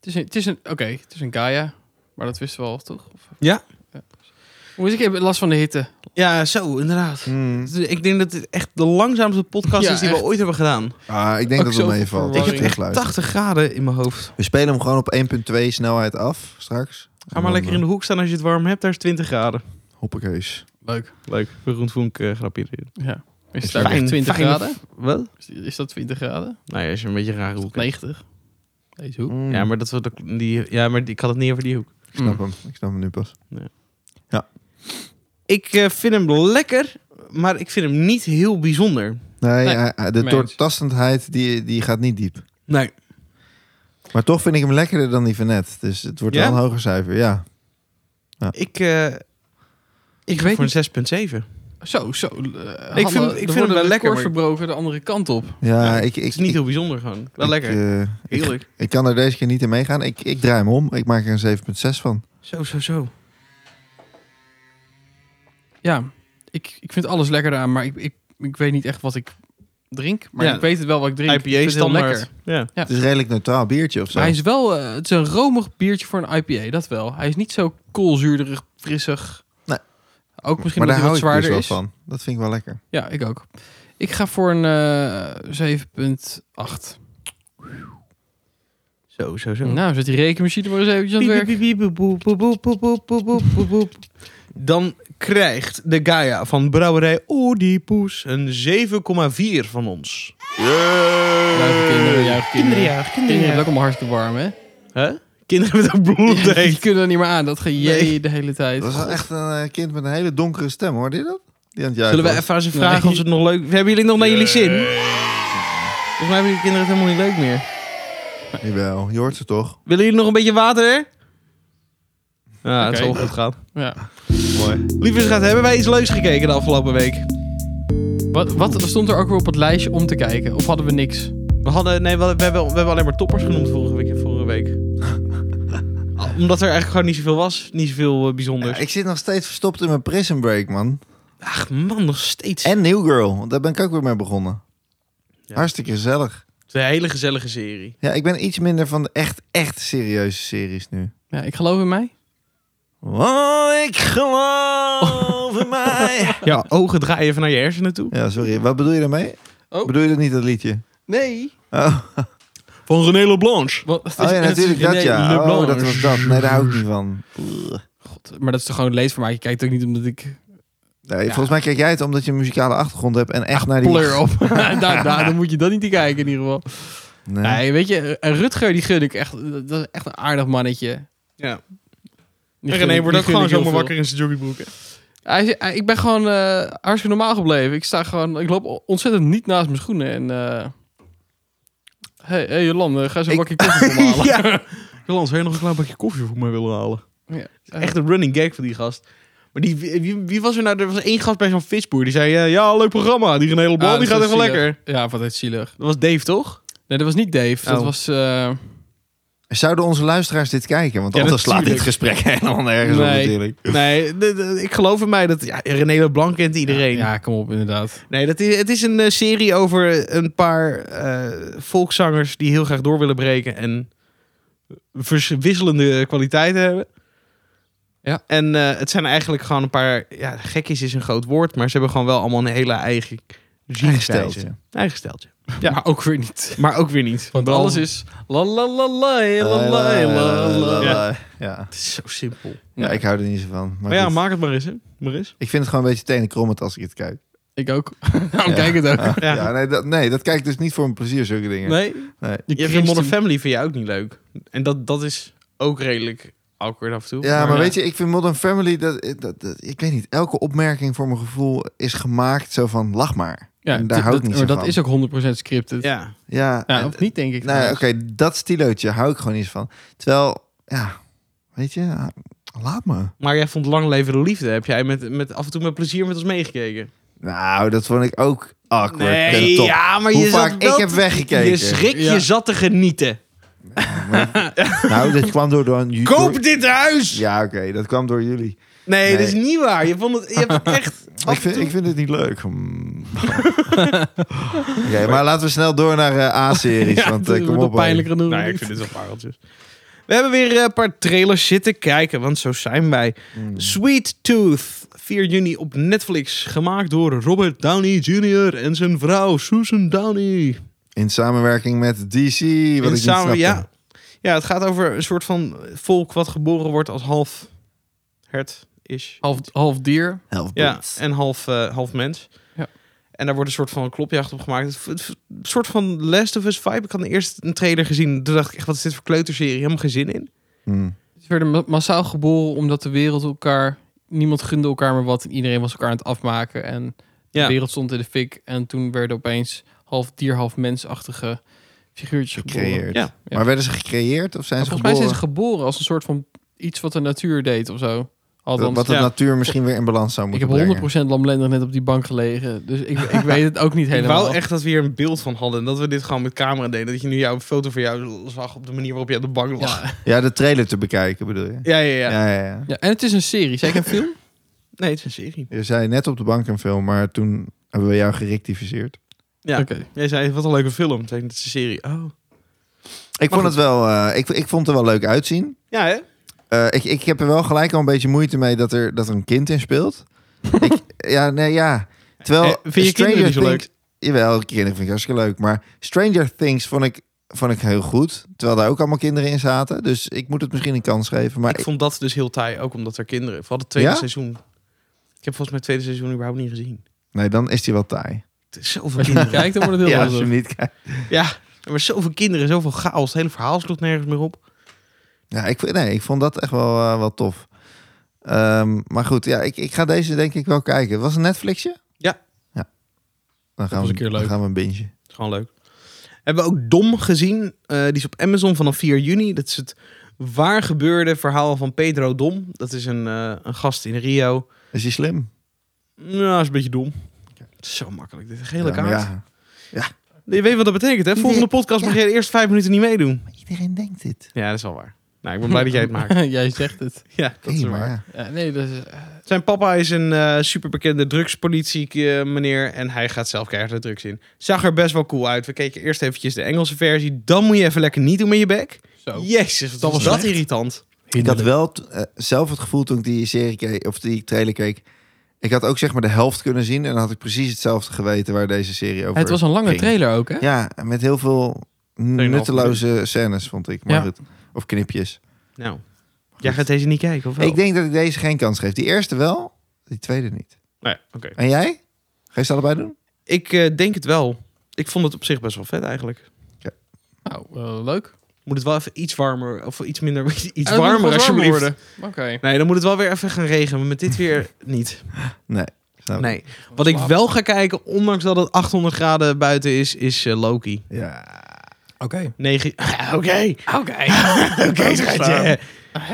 Het is een, het is een oké, het is een Gaia. Maar dat wisten we al, toch? Of, Ja. Hoe is ik heb last van de hitte? Ja, zo, inderdaad. Hmm. Ik denk dat dit echt de langzaamste podcast Ja, is die we echt. ooit hebben gedaan. Ah, ik denk Ook dat het zoveel meevalt. verwarring. als je Ik heb echt terugluistert. 80 graden in mijn hoofd. We spelen hem gewoon op 1.2 snelheid af straks. eh, Ga maar lekker in de hoek staan als je het warm hebt. Daar is 20 graden. Hoppakees. Leuk. Leuk. Jeroen Vonk eh, grapje erin. Ja. Is het Fijn, daar echt 20 fijn. graden? Wat? Is, is dat 20 graden? Nou ja, als je een beetje raar hoek hebt. 90? Deze hoek. Mm, Ja, maar, hmm. dat was de, die, ja, maar die- ik had het niet over die hoek. Hmm. Ik snap hem. Ik snap hem nu pas. Ik eh, vind hem lekker, maar ik vind hem niet heel bijzonder. Nee, Nee, hij- hij- de mee eens. doortastendheid die, die gaat niet diep. Nee. Maar toch vind ik hem lekkerder dan die van net. Dus het wordt Ja? wel een hoger cijfer, ja. Ik, eh, ik Ik weet weet voor niet. een 6,7. Zo, zo. eh, Hanna, vind- ik er vind hem worden wel de lekker, records maar- verbroken de andere kant op. Ja, ik... ik Is niet ik- heel bijzonder gewoon. Wel ik, lekker. eh, ik, Heerlijk. ik kan er deze keer niet in meegaan. Ik, ik draai hem om. Ik maak er een 7.6 van. Zo, zo, zo. Ja, ik, ik vind alles lekker aan, maar ik, ik, ik weet niet echt wat ik drink. Maar Ja. ik weet het wel wat ik drink. Ik vind IPA het heel standaard. lekker. Ja. Ja. Het is een redelijk neutraal biertje of zo. Maar hij is wel, eh, het is een romig biertje voor een IPA, dat wel. Hij is niet zo koolzuurderig, frissig. Nee. Ook misschien maar daar hou ik dus omdat hij wat zwaarder wel is. van. Dat vind ik wel lekker. Ja, ik ook. Ik ga voor een eh 7.8. Zo, zo, zo. Nou, zet die rekenmachine maar eens eventjes aan het werk. Dan krijgt de Gaia van brouwerij Oedipus een 7,4 van ons. Juichen kinderen, Kinderjaar, juichen kinderen. Kinderen hebben kinderjaar. ook allemaal hartstikke warm, hè? Hè? Kinderen met een bloed Die kunnen er niet meer aan. Dat ga jij Nee. de hele tijd. Dat was wel echt een eh, kind met een hele donkere stem, hoorde je dat? Die aan het juichen Zullen we was. even aan ze vragen Nee. of ze het nog leuk... Hebben jullie het nog naar jullie zin? Volgens mij hebben die kinderen het helemaal niet leuk meer. Jawel, je hoort ze toch? Willen jullie nog een beetje water? Ja, het Oké. zal goed gaan. Ja. Mooi. Lieve schat, hebben wij iets leuks gekeken de afgelopen week? Wat, wat stond er ook weer op het lijstje om te kijken? Of hadden we niks? We hadden... Nee, we, hadden- we, hebben, we hebben alleen maar toppers genoemd vorige week. Vorige week. Ah, Omdat er eigenlijk gewoon niet zoveel was. Niet zoveel eh, bijzonders. Ja, ik zit nog steeds verstopt in mijn prison break, man. Ach man, nog steeds. En New Girl, want daar ben ik ook weer mee begonnen. Ja. Hartstikke gezellig. De hele gezellige serie. Ja, ik ben iets minder van de echt, echt serieuze series nu. Ja, ik geloof in mij. Oh, ik geloof in mij. Ja, ogen draaien even naar je hersenen toe. Ja, sorry. Wat bedoel je daarmee? Oh. Bedoel je dat niet, dat liedje? Nee. Oh, Van René Leblanche. Wat, het is- oh ja, het is natuurlijk dat René ja. Leblanc. Oh, dat was dat. Nee, daar hou ik niet van. Oeh. God, maar dat is toch gewoon leed voor mij. Je kijkt ook niet omdat ik Nee, volgens mij kijk jij het omdat je een muzikale achtergrond hebt en echt naar die... Ah, pleur op. daar, daar, dan moet je dat niet te kijken in ieder geval. Nee. Nee, weet je, eh, Rutger die gun ik echt. Dat dat is echt een aardig mannetje. Ja. Die gun ik- die gun ik heel veel. in zijn joggingbroek. hè? Hij, is- hij- ik ben gewoon eh, hartstikke normaal gebleven. Ik sta gewoon, ik loop ontzettend niet naast mijn schoenen. En eh, hey, hey Jolande, ga eens een Ik- bakje koffie voor me halen. ja. Jolans, zou je nog een klein bakje koffie voor mij willen halen? Ja. Echt een running gag van die gast. Maar die, wie, wie was er nou? Er was één gast bij zo'n visboer. Die zei, eh, ja, leuk programma. Die René Leblanc, Ah, die dat gaat is even zielig. lekker. Ja, wat heet zielig. Dat was Dave, toch? Nee, dat was niet Dave. Dat Oh. was... eh, Zouden onze luisteraars dit kijken? Want Ja, anders slaat dit natuurlijk. gesprek helemaal nergens op Nee. natuurlijk. Nee, de- de- ik geloof in mij dat ja, René Leblanc kent iedereen. Ja, kom op, inderdaad. Nee, dat is, het is een eh, serie over een paar eh, volkszangers die heel graag door willen breken en vers- wisselende kwaliteiten hebben. Ja. En eh, het zijn eigenlijk gewoon een paar, ja, gekkies is een groot woord, maar ze hebben gewoon wel allemaal een hele eigen Eigen steltje. Zienswijze. Eigen steltje. Ja. Maar ook weer niet. Maar ook weer niet. Want alles is la la la la la la la la. Ja. Ja. Ja. Het is zo simpel. ja, ik hou er niet zo van. Maar Maar ja, goed. maak het maar eens, hè. Maar eens. Ik vind het gewoon een beetje tenenkrommend als ik het kijk. Ik ook. Nou, kijk het ook. Ja, Ja. ja, nee, dat, nee, dat kijk ik dus niet voor mijn plezier, zulke dingen. Nee, Nee. Je je Christen- vindt Modern Family vind je ook niet leuk. En dat, dat is ook redelijk awkward af en toe. Ja, maar, weet je, ik vind Modern Family, dat, dat, dat- ik weet niet, elke opmerking voor mijn gevoel is gemaakt zo van lach maar. Ja, en daar d- hou ik dat- niet zo maar dat van. is ook 100% scripted. Ja, Ja. Ja, en- of niet, denk ik. nou, ja, trouwens. oké, dat stilootje hou ik gewoon niet van. Terwijl, ja, weet je, ah, laat me. Maar jij vond Lang Leven de Liefde. Heb jij met, met, af en toe met plezier met ons meegekeken? Nou, dat vond ik ook awkward. en top. ja, maar Hoe je vaak zat ik wel heb te- weggekeken. Je schrik, Ja. je zat te genieten. Maar- nou, dat kwam door, door door- Koop dit huis! Ja, oké, dat kwam door jullie. Nee, Nee. dat is niet waar. Je, vond het, je hebt het echt... af Ik en vind, toe- ik vind het niet leuk. Hmm. Oké, maar laten we snel door naar eh, A-series. Ja, want dat eh, kom wordt op. een pijnlijkere noemer. Nou, ja, ik vind dit wel pareltjes. We hebben weer eh, een paar trailers zitten kijken, want zo zijn wij. Hmm. Sweet Tooth, 4 juni op Netflix. Gemaakt door Robert Downey Jr. en zijn vrouw Susan Downey. In samenwerking met DC, wat ik niet In samen- snapte. ja, ja, het gaat over een soort van volk wat geboren wordt als half hert is. Half, half dier. Ja, en half, eh, half mens. Ja. En daar wordt een soort van klopjacht op gemaakt. Het v- het v- Een soort van Last of Us vibe. Ik had eerst een trailer gezien. Toen dacht ik echt, wat is dit voor kleuterserie? Helemaal geen zin in. Hmm. Ze werden ma- massaal geboren omdat de wereld elkaar... Niemand gunde elkaar maar wat. en Iedereen was elkaar aan het afmaken. En de wereld stond in de fik. En toen werden opeens half dier, half mensachtige figuurtjes geboren. Gecreëerd. Ja. Ja. Maar werden ze gecreëerd of zijn En ze volgens mij geboren? zijn ze geboren als een soort van iets wat de natuur deed of zo. Althans, Wat de ja. natuur misschien weer in balans zou ik moeten heb 100% lamlendig net op die bank gelegen. Dus ik, ik weet het ook niet Ik helemaal. wou echt dat we hier een beeld van hadden. En dat we dit gewoon met camera deden. Dat je nu jouw foto van jou zag op de manier waarop je op de bank lag. ja. Ja, de trailer te bekijken bedoel je? Ja, ja, ja. Ja, ja, ja. ja, en het is een serie. Zeker een film? Nee, het is een serie. Je zei net op de bank een film, maar toen hebben we jou gerectificeerd. Ja. Oké. Jij zei, wat een leuke film. Toen het is een serie. Oh. Ik vond het wel, eh, ik, ik vond het er wel leuk uitzien. Ja, hè? Eh, ik, ik heb er wel gelijk al een beetje moeite mee dat er, dat er een kind in speelt. ik, ja, nee, ja. Terwijl Eh, vind je kinderen niet zo Things, Jawel, kinderen vind ik hartstikke leuk. Maar Stranger Things vond ik, vond ik heel goed. Terwijl daar ook allemaal kinderen in zaten. Dus ik moet het misschien een kans geven. Maar ik vond dat dus heel taai. Ook omdat er kinderen... Vooral het tweede Ja? seizoen. Ik heb volgens mij het tweede seizoen überhaupt niet gezien. nee, dan is die wel taai. Het is zoveel Als je niet kinderen. kijkt, dan wordt het heel Ja, als je lastig. hem niet kijkt. ja. Maar zoveel kinderen, zoveel chaos. Het hele verhaal sloeg nergens meer op. Ja, ik, vond- nee, ik vond dat echt wel, eh, wel tof. Ehm, maar goed, ja, ik, ik ga deze denk ik wel kijken. Was het een Netflixje? Ja. ja. Dan gaan, was we, een keer dan leuk. gaan we een bintje. is gewoon leuk. Hebben we ook Dom gezien. Eh, die is op Amazon vanaf 4 juni. Dat is het waar gebeurde verhaal van Pedro Dom. Dat is een, eh, een gast in Rio. Is die slim? Nou, is een beetje dom. Het is zo makkelijk. Dit is een gele Ja, maar kaart. ja. Je weet wat dat betekent, hè? Volgende podcast mag je de eerste vijf minuten niet meedoen. Maar iedereen denkt dit. Ja, dat is wel waar. Nou, ik ben blij dat jij het maakt. jij zegt het. Ja, dat is Hey, maar waar. ja. Ja, nee, dat is... eh, Zijn papa is een eh, superbekende drugspolitie eh, meneer en hij gaat zelf keihard de drugs in. Zag er best wel cool uit. We keken eerst eventjes de Engelse versie. Dan moet je even lekker niet doen met je bek. Zo. Jezus, wat Dat Oh. was was dat slecht. irritant. Ik had wel t- eh, zelf het gevoel toen ik die serie keek, of die trailer keek. Ik had ook zeg maar de helft kunnen zien en dan had ik precies hetzelfde geweten waar deze serie over Het was een lange ging. trailer ook, hè? Ja, met heel veel nutteloze scènes vond ik. Maar Ja. goed. Of knipjes. Nou, jij gaat deze niet kijken of wel? Ik denk dat ik deze geen kans geef. Die eerste wel, die tweede niet. Nee, oké. En jij? Ga je ze allebei doen? Ik eh, denk het wel. Ik vond het op zich best wel vet eigenlijk. Nou, eh, leuk. Moet het wel even iets warmer of iets minder iets Ah, dat moet warmer wat alsjeblieft. worden. Oké. Nee, dan moet het wel weer even gaan regenen, maar met dit weer niet. Nee. Snap Nou, ik. Nee. Wat ik wel ga kijken, ondanks dat het 800 graden buiten is, is eh, Loki. Ja. Oké. Negen. Oké. Oké. Oké, schatje.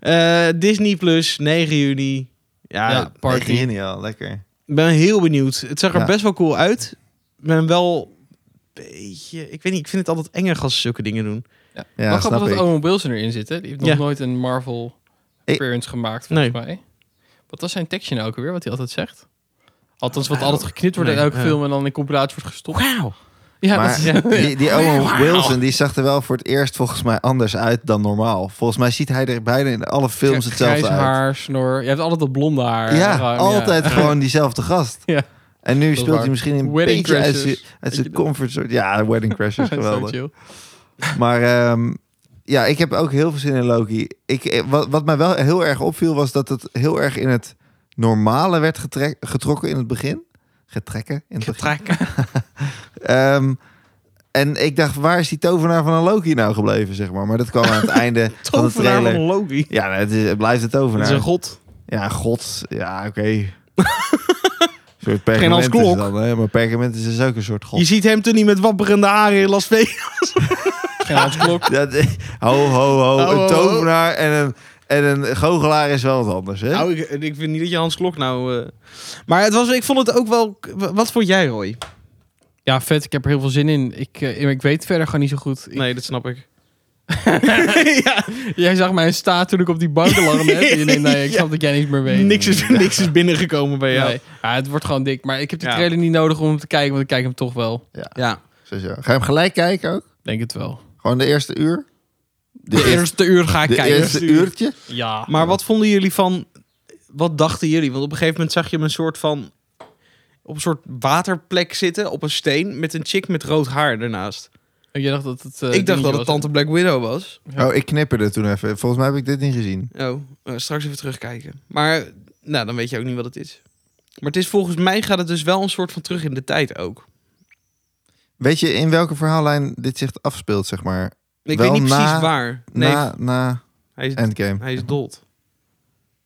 Eh, Disney Plus, 9 juni. Ja, Ja, Party. party. Geniaal, lekker. Ik ben heel benieuwd. Het zag er Ja. best wel cool uit. Ik ben wel een beetje... Ik weet niet, ik vind het altijd enger als ze zulke dingen doen. Ja, Wel grappig snap dat ik. Owen Wilson erin zit, hè? Die heeft nog Ja. nooit een Marvel appearance gemaakt, volgens mij. Wat was zijn tekstje nou ook alweer, wat hij altijd zegt? Althans, wat altijd geknipt wordt in Nee, elke ja. film en dan in compilatie wordt gestopt. Wauw. Ja, dat Maar is- ja. die, die Owen Wilson die zag er wel voor het eerst volgens mij anders uit dan normaal. Volgens mij ziet hij er bijna in alle films Grijs hetzelfde uit. haar, snor. Je hebt altijd dat blonde haar. Ja, Ruim, altijd gewoon diezelfde gast. Ja. En En nu is speelt hij waar. misschien een Wedding beetje uit Crashers. zijn- uit je zijn dat? comfortzone. Ja, Wedding Crashers, Zo geweldig. chill. Maar ehm, ja, ik heb ook heel veel zin in Loki. Ik, eh, wat, wat mij wel heel erg opviel was dat het heel erg in het normale werd getrek- getrokken in het begin. Getrekken in het begin. Ehm, en ik dacht, waar is die tovenaar van een Loki nou gebleven, zeg maar? Maar dat kwam aan het einde van de Tovenaar van trailer. Loki. Ja, het, is, het blijft de Dat tovenaar. is een god. Ja, god. Ja, oké. Een soort Geen Hans perkament is Klok. dan, hè? Maar perkament is dus ook een soort god. Je ziet hem toen niet met wapperende haren in Las Vegas. Geen Hansklok. Dat, ho, ho, ho. Ho, ho, ho. Een tovenaar en een, en een goochelaar is wel wat anders, hè? Nou, ik, ik vind niet dat je Hans Klok nou... eh, Maar het was, ik vond het ook wel... Wat vond jij, Roy? Ja, vet. Ik heb er heel veel zin in. Ik, eh, ik weet verder gewoon niet zo goed. Ik- Nee, dat snap ik. ja, Jij zag mij staan toen ik op die bank lag net. En je denkt, nee, ik Ja. snap dat jij niks meer weet. niks, is, niks is binnengekomen bij Nee. jou. Ja, het wordt gewoon dik. Maar ik heb die Ja. trailer niet nodig om hem te kijken, want ik kijk hem toch wel. Ja. Zo, zo. Ga je hem gelijk kijken ook? Denk het wel. Gewoon de eerste uur? De, eerste uur ga ik de kijken. eerste uurtje? Ja. Maar wat vonden jullie van... Wat dachten jullie? Want op een gegeven moment zag je hem een soort van... Op een soort waterplek zitten, op een steen... Met een chick met rood haar ernaast. Oh, jij dacht dat het... eh, ik dacht dat dingetje Eh, het was. Tante Black Widow was. Ja. Oh, ik knipperde toen even. Volgens mij heb ik dit niet gezien. Oh, eh, straks even terugkijken. Maar nou, dan weet je ook niet wat het is. Maar het is volgens mij gaat het dus wel een soort van terug in de tijd ook. Weet je in welke verhaallijn dit zich afspeelt, zeg maar? Ik Wel weet niet na- precies waar. Nee, Na, na hij, is, Endgame. hij is dood.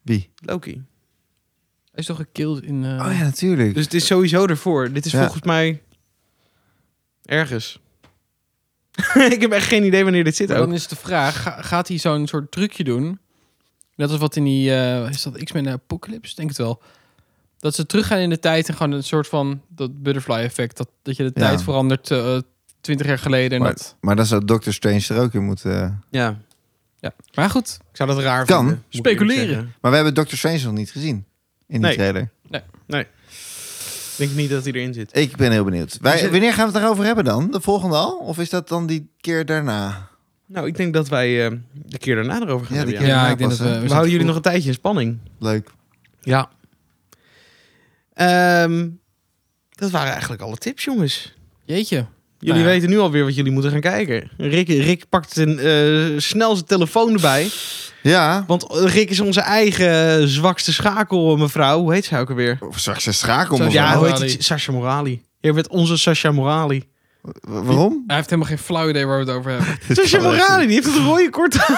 Wie? Loki. Hij is toch gekild in... eh, Oh ja, natuurlijk. Dus het is sowieso ervoor. Dit is Ja. volgens mij ergens. ik heb echt geen idee wanneer dit zit Maar ook. dan is de vraag, ga- gaat hij zo'n soort trucje doen? Net als wat in die, eh, is dat X-Men Apocalypse? Denk het wel. Dat ze teruggaan in de tijd en gewoon een soort van, dat butterfly effect. Dat, dat je de Ja. tijd verandert eh, twintig jaar geleden. En Maar- dat, Maar dan zou Doctor Strange er ook in moeten. Ja, ja. Maar goed, ik zou dat raar Kan. vinden. moet ik eerlijk Speculeren. zeggen. Maar we hebben Doctor Strange nog niet gezien in die Nee. trailer. Ik denk niet dat hij erin zit. Ik ben heel benieuwd. Wij- Is het- wanneer gaan we het daarover hebben dan? De volgende al? Of is dat dan die keer daarna? Nou, ik denk dat wij eh, de keer daarna erover gaan Ja, hebben. die ja, keer daarna ik denk pas, dat hè? we... We houden jullie nog een tijdje in spanning. Leuk. Ja. Ehm, dat waren eigenlijk alle tips, jongens. Jeetje. Jullie Nou ja. weten nu alweer wat jullie moeten gaan kijken. Rick, Rick pakt een, eh, snel zijn telefoon erbij. Ja. Want Rick is onze eigen zwakste schakel, mevrouw. Hoe heet zij ook alweer? Of straks een schakel. Zo- maar ja, wel. hoe Morali. heet die? Sasha Morali. Jij bent onze Sasha Morali. Wa- Waarom? Hij heeft helemaal geen flauw idee waar we het over hebben. Sasha Morali, die heeft het rode kort aan.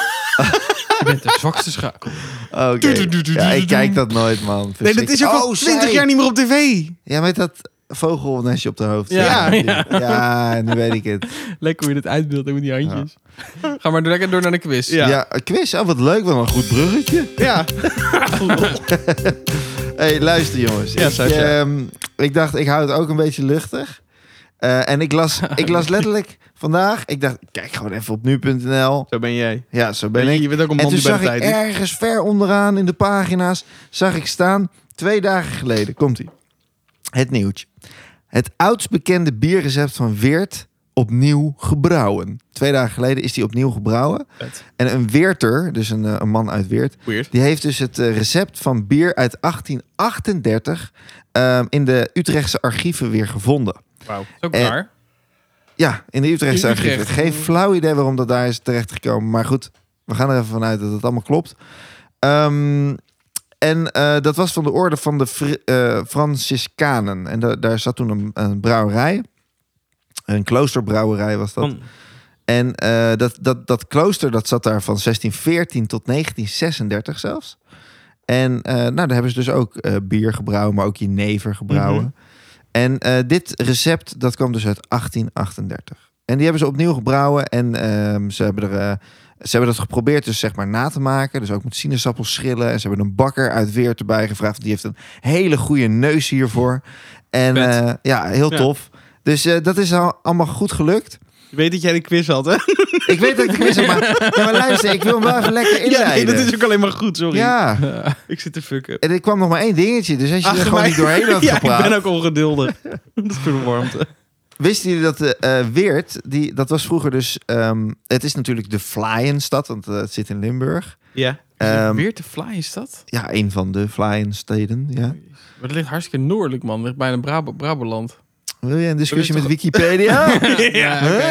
Je bent de zwakste schakel. Oh, Oké. Ja, ik kijk dat nooit, man. Oh, Nee, dat is ook al 20 jaar niet meer op tv. Ja, met dat vogelnestje op de hoofd. Ja. ja. ja, nu weet ik het. Lekker hoe je dat uitbeeldt ook met die handjes. Ga maar door- lekker door naar de quiz. Ja. Ja, een quiz. Oh, wat leuk. Wat een goed bruggetje. Ja. hey, luister jongens. Ja, ik, Sascha. ehm, ik dacht, ik hou het ook een beetje luchtig. Eh, en ik las, ik las letterlijk vandaag. Ik dacht, kijk gewoon even op nu.nl. Zo ben jij. Ja, zo ben ik. Je bent ook een En man toen die bij de zag tijd ik is. ergens ver onderaan in de pagina's, zag ik staan, twee dagen geleden, komt ie. Het nieuwtje. Het oudst bekende bierrecept van Weert opnieuw gebrouwen. Twee dagen geleden is die opnieuw gebrouwen. Vet. En een Weerter, dus een, eh, een man uit Weert, Weird. die heeft dus het eh, recept van bier uit 1838 ehm, in de Utrechtse archieven weer gevonden. Wauw. Is ook Eh, raar. Ja, in de Utrechtse In archieven. Utrecht. Geen flauw idee waarom dat daar is terechtgekomen. Maar goed, we gaan er even vanuit dat het allemaal klopt. Ehm, en eh, dat was van de orde van de Fr- eh, Franciscanen. En da- daar zat toen een, een brouwerij. Een kloosterbrouwerij was dat. Van- En eh, dat, dat, dat klooster dat zat daar van 1614 tot 1936 zelfs. En eh, nou, daar hebben ze dus ook eh, bier gebrouwen, maar ook jenever gebrouwen. En eh, dit recept dat kwam dus uit 1838. En die hebben ze opnieuw gebrouwen en ehm, ze, hebben er, eh, ze hebben dat geprobeerd dus zeg maar na te maken. Dus ook met sinaasappels schillen. En ze hebben een bakker uit Weert erbij gevraagd. Die heeft een hele goede neus hiervoor. En Vet. eh, ja, heel Ja. tof. Dus eh, dat is al allemaal goed gelukt. Je weet dat jij de quiz had, hè? Ik weet dat ik de quiz heb, maar, ja, maar luister, ik wil hem wel even lekker inleiden. Ja, nee, dat is ook alleen maar goed, sorry. Ja, Ik zit te fucken. en er kwam nog maar één dingetje, dus als je Ach, er gewoon mij- niet doorheen had ja, gepraat... ik ben ook ongeduldig. dat is voor de warmte. Wisten jullie dat de eh, Weert, die, dat was vroeger dus... ehm, het is natuurlijk de Vlaienstad, want eh, het zit in Limburg. Ja. Ehm, Weer te fly is dat? ja, een van de flying steden. Ja. Maar dat ligt hartstikke noordelijk, man. Ligt bijna Brab Brabant. Wil je een discussie Dat met is Wikipedia? Ja, oké.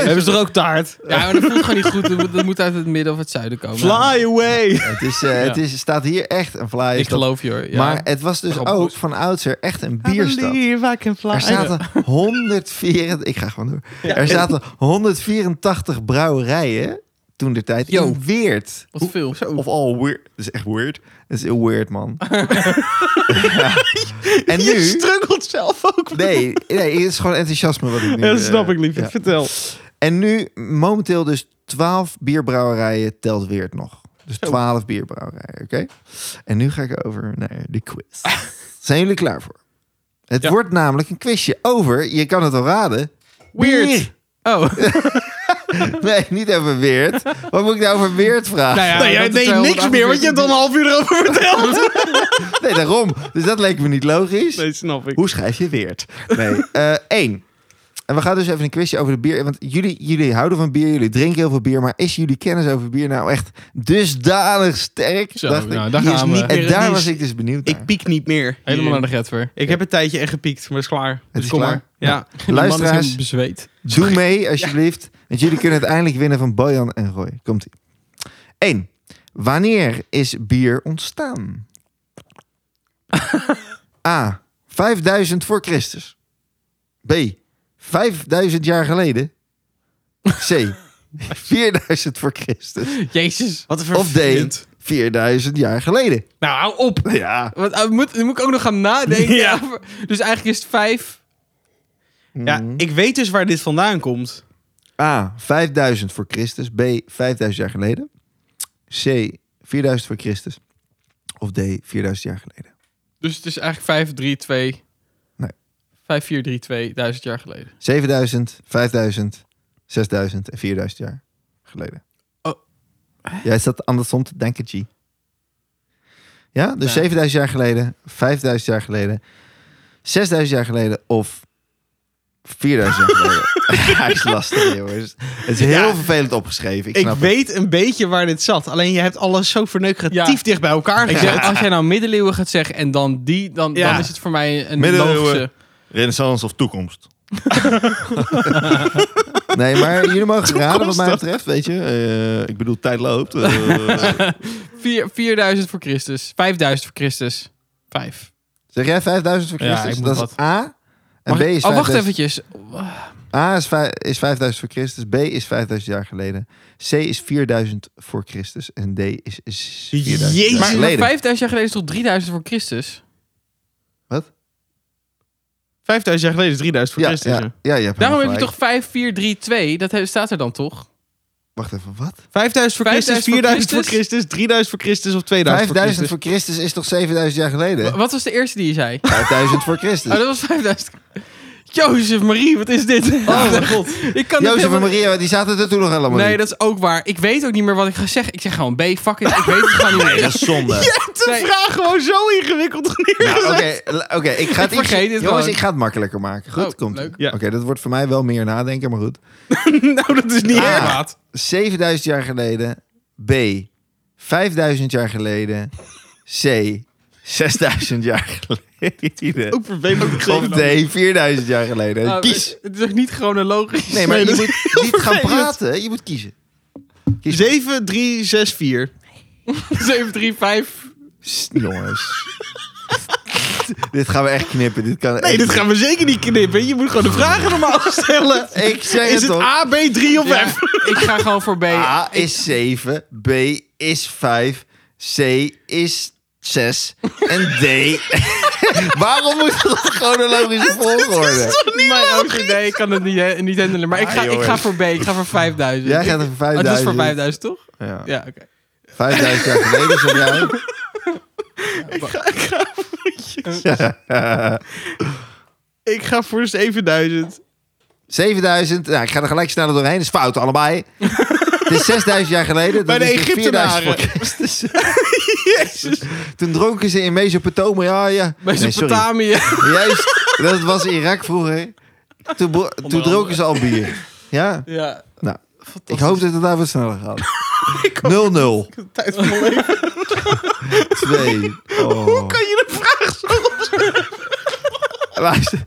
Hebben ze er ook taart? ja, maar dat voelt gewoon niet goed. Dat moet- Dat moet uit het midden of het zuiden komen. Fly away! het is, eh, het is, staat hier echt een fly. Ik is dat. geloof je hoor. Ja. Maar het was dus Rob ook Bosch. van oudsher echt een bierstad. I can fly. Er zaten 104, ik ga gewoon door. Er zaten 184 brouwerijen toen de tijd Yo. in Weert. Wat veel. Oh, Of al weird. Dat is echt weird. Dat is heel weird, man. Ja. En Je nu... struggelt zelf ook. Nee, nee, het is gewoon enthousiasme wat ik nu... dat snap eh, ik, lief. ja. Vertel. En nu, momenteel dus 12 bierbrouwerijen telt Weert nog. Dus 12 bierbrouwerijen, oké? En nu ga ik over naar de quiz. Zijn jullie klaar voor? Het Ja. wordt namelijk een quizje over, je kan het al raden... Weird. bier. Oh, Nee, niet over Weert. Wat moet ik nou over Weert vragen? Nou ja, nee, jij dat deed het niks 248 meer, want je hebt al een half uur erover verteld. Nee, daarom. Dus dat leek me niet logisch. snap ik. Hoe schrijf je Weert? Nee. eh, één. En we gaan dus even een quizje over de bier. Want jullie, jullie houden van bier, jullie drinken heel veel bier. Maar is jullie kennis over bier nou echt dusdanig sterk? Zo, dacht ik. nou, daar Die is gaan we. niet- Die En is- daar was ik dus benieuwd naar. Ik piek niet meer. helemaal naar de getver. Ik heb een tijdje echt gepiekt, maar is klaar. is dus kom klaar. maar. Ja. Luisteraars, bezweet. doe mee alsjeblieft. Want jullie kunnen uiteindelijk winnen van Bojan en Roy. Komt-ie. Eén. Wanneer is bier ontstaan? A. 5000 voor Christus. B. 5000 jaar geleden. C. 4000 voor Christus. Jezus. Wat een Of D. 4000 jaar geleden. Nou, hou op. Ja. Want, eh, moet, dan moet ik ook nog gaan nadenken. Ja. over- Dus eigenlijk is het vijf. Ja, ik weet dus waar dit vandaan komt. A. 5000 voor Christus. B. 5000 jaar geleden. C. 4000 voor Christus. Of D. 4000 jaar geleden. Dus het is eigenlijk vijf, drie, twee. Nee. Vijf, vier, drie, twee. Duizend jaar geleden. 7000, 5000, 6000 en 4000 jaar geleden. Oh. Jij zat andersom te denken, G. Ja, dus Ja. 7000 jaar geleden, 5000 jaar geleden, 6000 jaar geleden of 4000 jaar geleden. Hij is lastig, jongens. Het is heel Ja. vervelend opgeschreven. Ik, Ik, snap het. weet een beetje waar dit zat. Alleen je hebt alles zo verneukeratief Ja. dicht bij elkaar Ik gezet. zeg, als jij nou middeleeuwen gaat zeggen en dan die, dan, Ja. dan is het voor mij een Middeleeuwen. logische... Renaissance of toekomst? nee, maar jullie mogen raden wat mij betreft, weet je. Eh, ik bedoel, tijd loopt. Eh, Vier- 4000 voor Christus. 5000 voor Christus. Vijf. zeg jij 5000 voor Ja, ik Christus? moet dat is wat. A. En Mag B ik- is oh, wacht 5000. eventjes. A is, vij- is 5000 voor Christus. B is 5000 jaar geleden. C is 4000 voor Christus. En D is, is 4000 Jezus. jaar Maar, maar geleden. 5000 jaar geleden is toch 3000 voor Christus? 5000 jaar geleden is 3000 voor ja, Christus. ja, ja, je hebt Daarom heb helemaal je toch gelijk. 5, 4, 3, 2? Dat he- staat er dan toch? Wacht even, wat? 5000 voor 5000 Christus, voor 4000 voor Christus? Christus, 3000 voor Christus of 2000 voor 5000 Christus. voor Christus is toch 7000 jaar geleden? Wa- Wat was de eerste die je zei? 5000 voor Christus. Oh, dat was 5000. Jozef Marie, wat is dit? Oh mijn god. Ik kan dit Jozef en helemaal- Maria, die zaten er toen nog helemaal Nee, niet. dat is ook waar. Ik weet ook niet meer wat ik ga zeggen. Ik zeg gewoon B, fuck it. Ik weet het gewoon niet meer. dat is zonde. De Nee. vraag gewoon zo ingewikkeld Ja, neergezet. Nou, Oké, l- oké, ik ga het Ik vergeet iets- het Jongens, gewoon. ik ga het makkelijker maken. Goed, Oh, komt. leuk. Oké, dat wordt voor mij wel meer nadenken, maar goed. nou, dat is niet Ah. erg. 7000 jaar geleden. B. 5000 jaar geleden. C. 6000 jaar geleden. Ook vervelend. Of D. 4000 jaar geleden. Ah, Kies. Het is ook niet chronologisch. Nee, maar je dat is moet niet gaan vervelend. praten. Je moet kiezen. Kies. 7, 3, 6, 4. 7, 3, 5. Sst, Jongens. dit gaan we echt knippen. Dit kan Nee, echt dit niet. gaan we zeker niet knippen. Je moet gewoon de vragen normaal stellen. Ik zeg Is het het toch. A, B, 3 of Ja, F? ik ga gewoon voor B. A is 7, B is 5, C is 6 en D. Waarom moet dat chronologische volgorde? Mijn ook idee, ik kan het niet, niet handelen. Maar ik, Ah, ga, ik jongens. ga voor B, ik ga voor 5000. Jij gaat er voor Oh, 5000. het was voor 5000, toch? Ja. Ja, oké. 5000 jaar geleden zeg jij. Ik ga voor 7000. 7000. Nou, ik ga er gelijk sneller doorheen. Dat is fout allebei. Het is 6000 jaar geleden. Bij Dat de is dus 4000 voor Egyptenaren. Christus. Toen dronken ze in Mesopotamia. Ja. Nee, sorry. Mesopotamië. Juist, dat was Irak vroeger. Toen, bro- toen dronken ze al bier. Ja, ja. nou, ik hoop dat het daar wat sneller gaat. 0-0. Tijd van mijn leven. 2. Oh. Kan je de vraag zo Luister.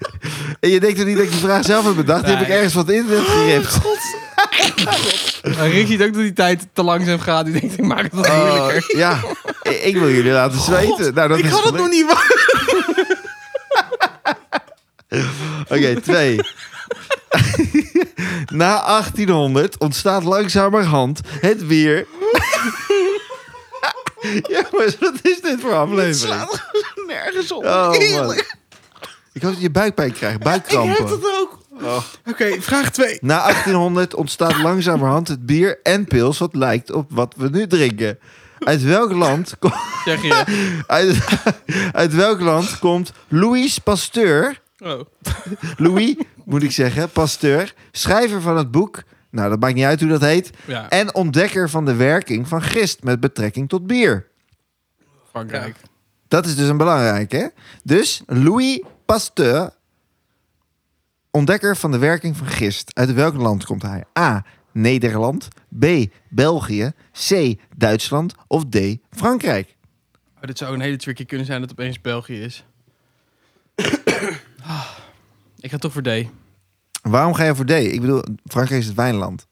En je denkt toch niet dat ik die vraag zelf heb bedacht? Die heb ik Nee. ergens van het internet Oh, geript. Maar Rick ziet ook dat die tijd te langzaam gaat. Die denkt, ik maak het wat Oh, moeilijker. ja, I- ik wil jullie laten zweten. Nou, dat Ik is had het nog gelukt. niet waar. Oké, twee. Na 1800 ontstaat langzamerhand het weer. Jongens, wat is dit voor aflevering? slaat gewoon nergens op. Oh, man. Eerlijk. Ik hoop dat je buikpijn krijgt, Ik heb buikkrampen. dat ook. Oh. Oké, vraag 2. Na 1800 ontstaat langzamerhand het bier en pils wat lijkt op wat we nu drinken. Uit welk land, ko- Zeg je. uit, uit welk land komt Louis Pasteur... Oh. Louis, moet ik zeggen, Pasteur, schrijver van het boek... Nou, dat maakt niet uit hoe dat heet. Ja, En ontdekker van de werking van gist met betrekking tot bier. Frankrijk. Dat is dus een belangrijke. hè? Dus Louis Pasteur, ontdekker van de werking van gist. Uit welk land komt hij? A. Nederland. B. België. C. Duitsland. Of D. Frankrijk. Maar Oh, dit zou een hele tricky kunnen zijn dat het opeens België is. Ah, ik ga toch voor D. Nee, Waarom ga je voor D? Ik bedoel, Frankrijk is het wijnland.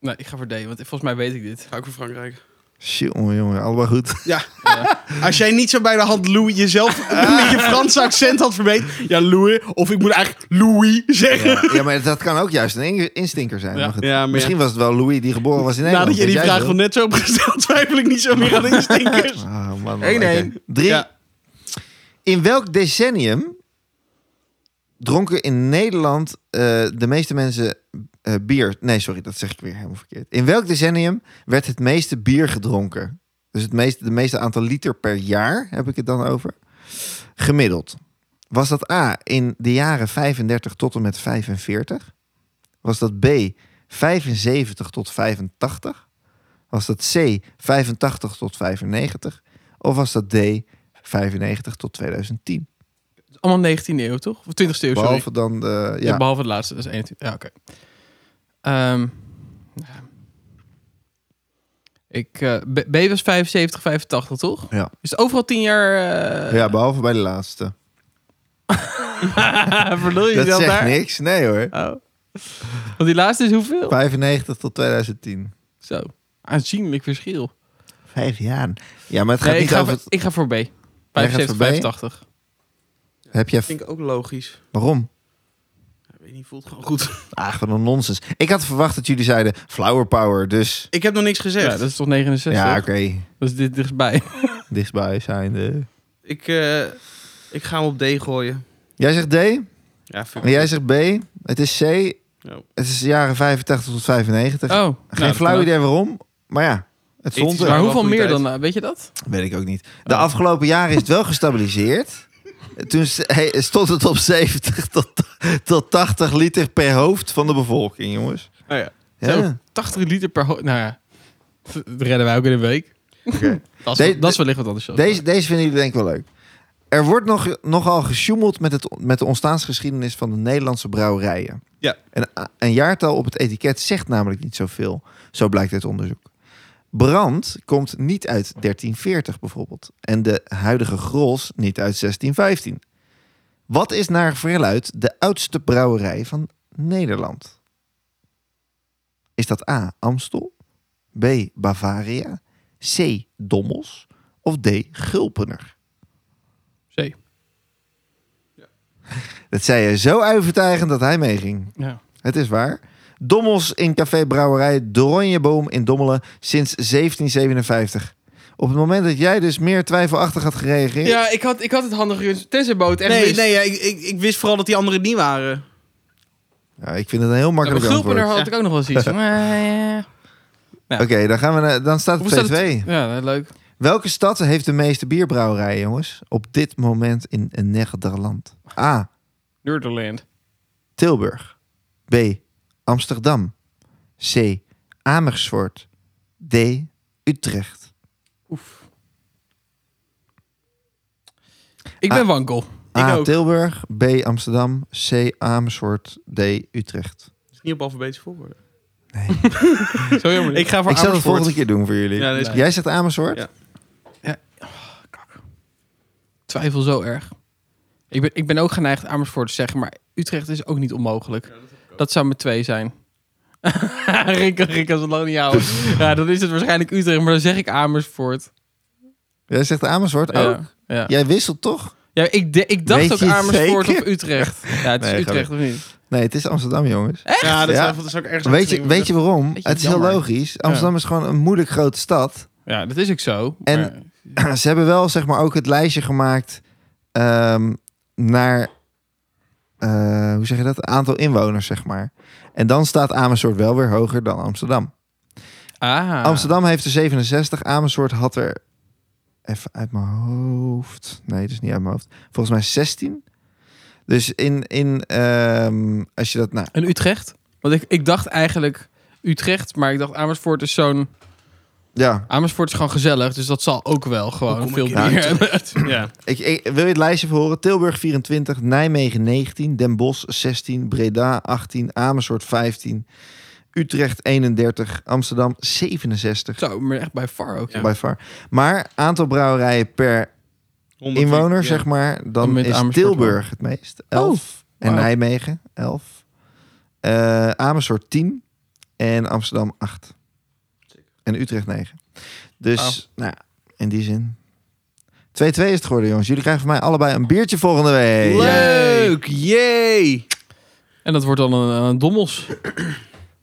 ik ga voor D, want volgens mij weet ik dit. Ga ik voor Frankrijk. Jongen, jongen, allemaal goed. Ja. Ja. Als jij niet zo bij de hand Louis jezelf met je Franse accent had verbeterd. Ja, Louis. Of ik moet eigenlijk Louis zeggen. Ja, ja, maar dat kan ook juist een in- instinker zijn. Ja. Maar goed. Ja, maar ja. Misschien was het wel Louis die geboren was in Nederland. Nadat je weet die jij vraag veel? nog net zo hebt gesteld, twijfel ik niet zo meer aan de instinkers. Ah, man, man, 1-1. oké. Drie. Ja. In welk decennium dronken in Nederland eh, de meeste mensen eh, bier? Nee, sorry, dat zeg ik weer helemaal verkeerd. In welk decennium werd het meeste bier gedronken? Dus het meeste, de meeste aantal liter per jaar heb ik het dan over. Gemiddeld. Was dat A in de jaren 35 tot en met 45? Was dat B 75 tot 85? Was dat C 85 tot 95? Of was dat D 95 tot 2010? Het is Allemaal 19e eeuw, toch? Of 20e eeuw, Oh, sorry. Behalve dan de... Ja. Ja, behalve het laatste, dat is 21. Ja, oké. Ehm, ja. ik, eh, B, B was 75, 85, toch? Ja. Is het overal 10 jaar... eh, ja, behalve bij de laatste. Verlul Oh, je Dat jezelf zegt daar? niks. Nee hoor. Oh. Want die laatste is hoeveel? 95 tot 2010. Zo, aanzienlijk verschil. Vijf jaar. Ja, maar het gaat Nee, ik, niet ga over... voor, ik ga voor B. gaat 75, voor B? 85. het- Heb je... ik ook logisch. Waarom? Ik weet niet, voelt gewoon goed. Ach, wat een nonsens. Ik had verwacht dat jullie zeiden flower power, dus... Ik heb nog niks gezegd. Ja, dat is toch 69? Ja, Ja, oké. Dat is dit dichtstbij. Dichtbij zijnde. ik, eh, ik ga hem op D gooien. Jij zegt D en Ja, fuck. jij zegt B. Het is C. Het is de jaren 85 tot 95. Oh, nou, Geen dat kan flauw ook. idee waarom, maar ja. Het stond Ethisch er. Maar Wel hoeveel goede meer tijd. dan, eh, weet je dat? Weet ik ook niet. De afgelopen jaren is het wel gestabiliseerd. Toen s- he- stond het op 70 tot, tot 80 liter per hoofd van de bevolking, jongens. Oh ja. Zo, Ja. 80 liter per ho- Nou ja, dat redden wij ook in een week. Oké. Dat, is, De- dat is wellicht wat anders. dan. Deze, deze vinden jullie denk ik wel leuk. Er wordt nog, nogal gesjoemeld met, het, met de ontstaansgeschiedenis van de Nederlandse brouwerijen. Ja. Een, een jaartal op het etiket zegt namelijk niet zoveel. Zo blijkt uit onderzoek. Brand komt niet uit 1340 bijvoorbeeld. En de huidige Grols niet uit 1615. Wat is naar verluid de oudste brouwerij van Nederland? Is dat A. Amstel? B. Bavaria? C. Dommels? Of D. Gulpener? C. Dat zei je zo overtuigend dat hij meeging. Ja. Het is waar. Dommels in café Brouwerij De Oranjeboom in Dommelen sinds 1757. Op het moment dat jij dus meer twijfelachtig had gereageerd... ja, ik had, ik had het handig gezien. Tenzij boot echt Nee, wist. nee ja, ik, ik, ik wist vooral dat die anderen niet waren. Ja, ik vind het een heel Ja, maar makkelijk Gulpener antwoord. had ik ook nog wel eens iets. van, eh, ja. Oké, dan, gaan we naar- dan staat Hoe staat het 2-2. het? Ja, leuk. Welke stad heeft de meeste bierbrouwerijen, jongens? Op dit moment in Nederland. A. Nederland. Tilburg. B. Amsterdam. C. Amersfoort. D. Utrecht. Ik Ah. ben wankel. A. ook. Tilburg. B. Amsterdam. C. Amersfoort. D. Utrecht. is niet op alfabetische volgorde. Zo jammer. Ik ga voor Ik zal het Amersfoort. volgende keer doen voor jullie. Ja, dat is- Jij zegt Amersfoort? Ja. twijfel zo erg. Ik ben, ik ben ook geneigd Amersfoort te zeggen, maar Utrecht is ook niet onmogelijk. dat, zou met twee zijn. Rick, Rick kan het lang niet houden. Ja, dan is het waarschijnlijk Utrecht, maar dan zeg ik Amersfoort. Jij zegt Amersfoort Ja, ook? ja. Jij wisselt toch? Ja, ik, de- ik dacht Weet ook je het Amersfoort zeker? of Utrecht. Ja, het is Nee, Utrecht of niet? Nee, het is Amsterdam, jongens. Ja, dat Ja. zou- dat zou ik ergens aan Weet je, verdienen. weet je waarom? Beetje het is jammer. heel logisch. Amsterdam is gewoon een moeilijk grote stad. Ja, dat is ook zo. En- maar- Ze hebben wel zeg maar ook het lijstje gemaakt ehm, naar eh, hoe zeg je dat? Aantal inwoners zeg maar. En dan staat Amersfoort wel weer hoger dan Amsterdam. ah, Amsterdam heeft er 67. Amersfoort had er even uit mijn hoofd. Nee, dat is niet uit mijn hoofd. Volgens mij 16. Dus in, in ehm, als je dat nou, En Utrecht? Want ik, ik dacht eigenlijk Utrecht, maar ik dacht Amersfoort is zo'n... ja, Amersfoort is gewoon gezellig, dus dat zal ook wel gewoon veel hier? meer hebben. Ja. Ik, ik- wil je het lijstje even horen? Tilburg 24, Nijmegen 19, Den Bosch 16, Breda 18, Amersfoort 15, Utrecht 31, Amsterdam 67. Zo, maar echt bij far ook. Ja. By far. Maar aantal brouwerijen per 110, inwoner, ja. zeg maar, Dan dan met is Amersfoort Tilburg het meest. Oh, 11. en wauw. Nijmegen 11. Eh, Amersfoort 10. En Amsterdam 8. En Utrecht 9. Dus, nou, in die zin. 2-2 is het geworden, jongens. Jullie krijgen van mij allebei een biertje volgende week. Leuk, yay! En dat wordt dan een, een dommels.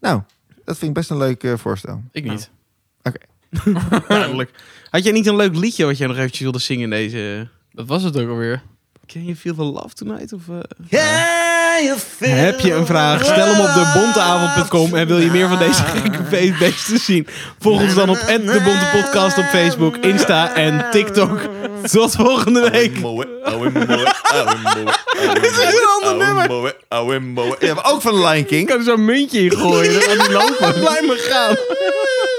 Nou, dat vind ik best een leuk eh, voorstel. Ik niet. Duidelijk. Had jij niet een leuk liedje wat jij nog eventjes wilde zingen in deze... Dat was het ook alweer. Can you feel the love tonight? Of, eh? Heb Heb je een vraag? Stel hem op debonteavond.com en wil je meer van deze gekke feestbeesten zien? Volg ons dan op de Bonte Podcast op Facebook, Insta en TikTok. Tot volgende week. Dit is een ander nummer. ook van Lion King. kan er zo'n muntje in gooien. Blijf me gaan.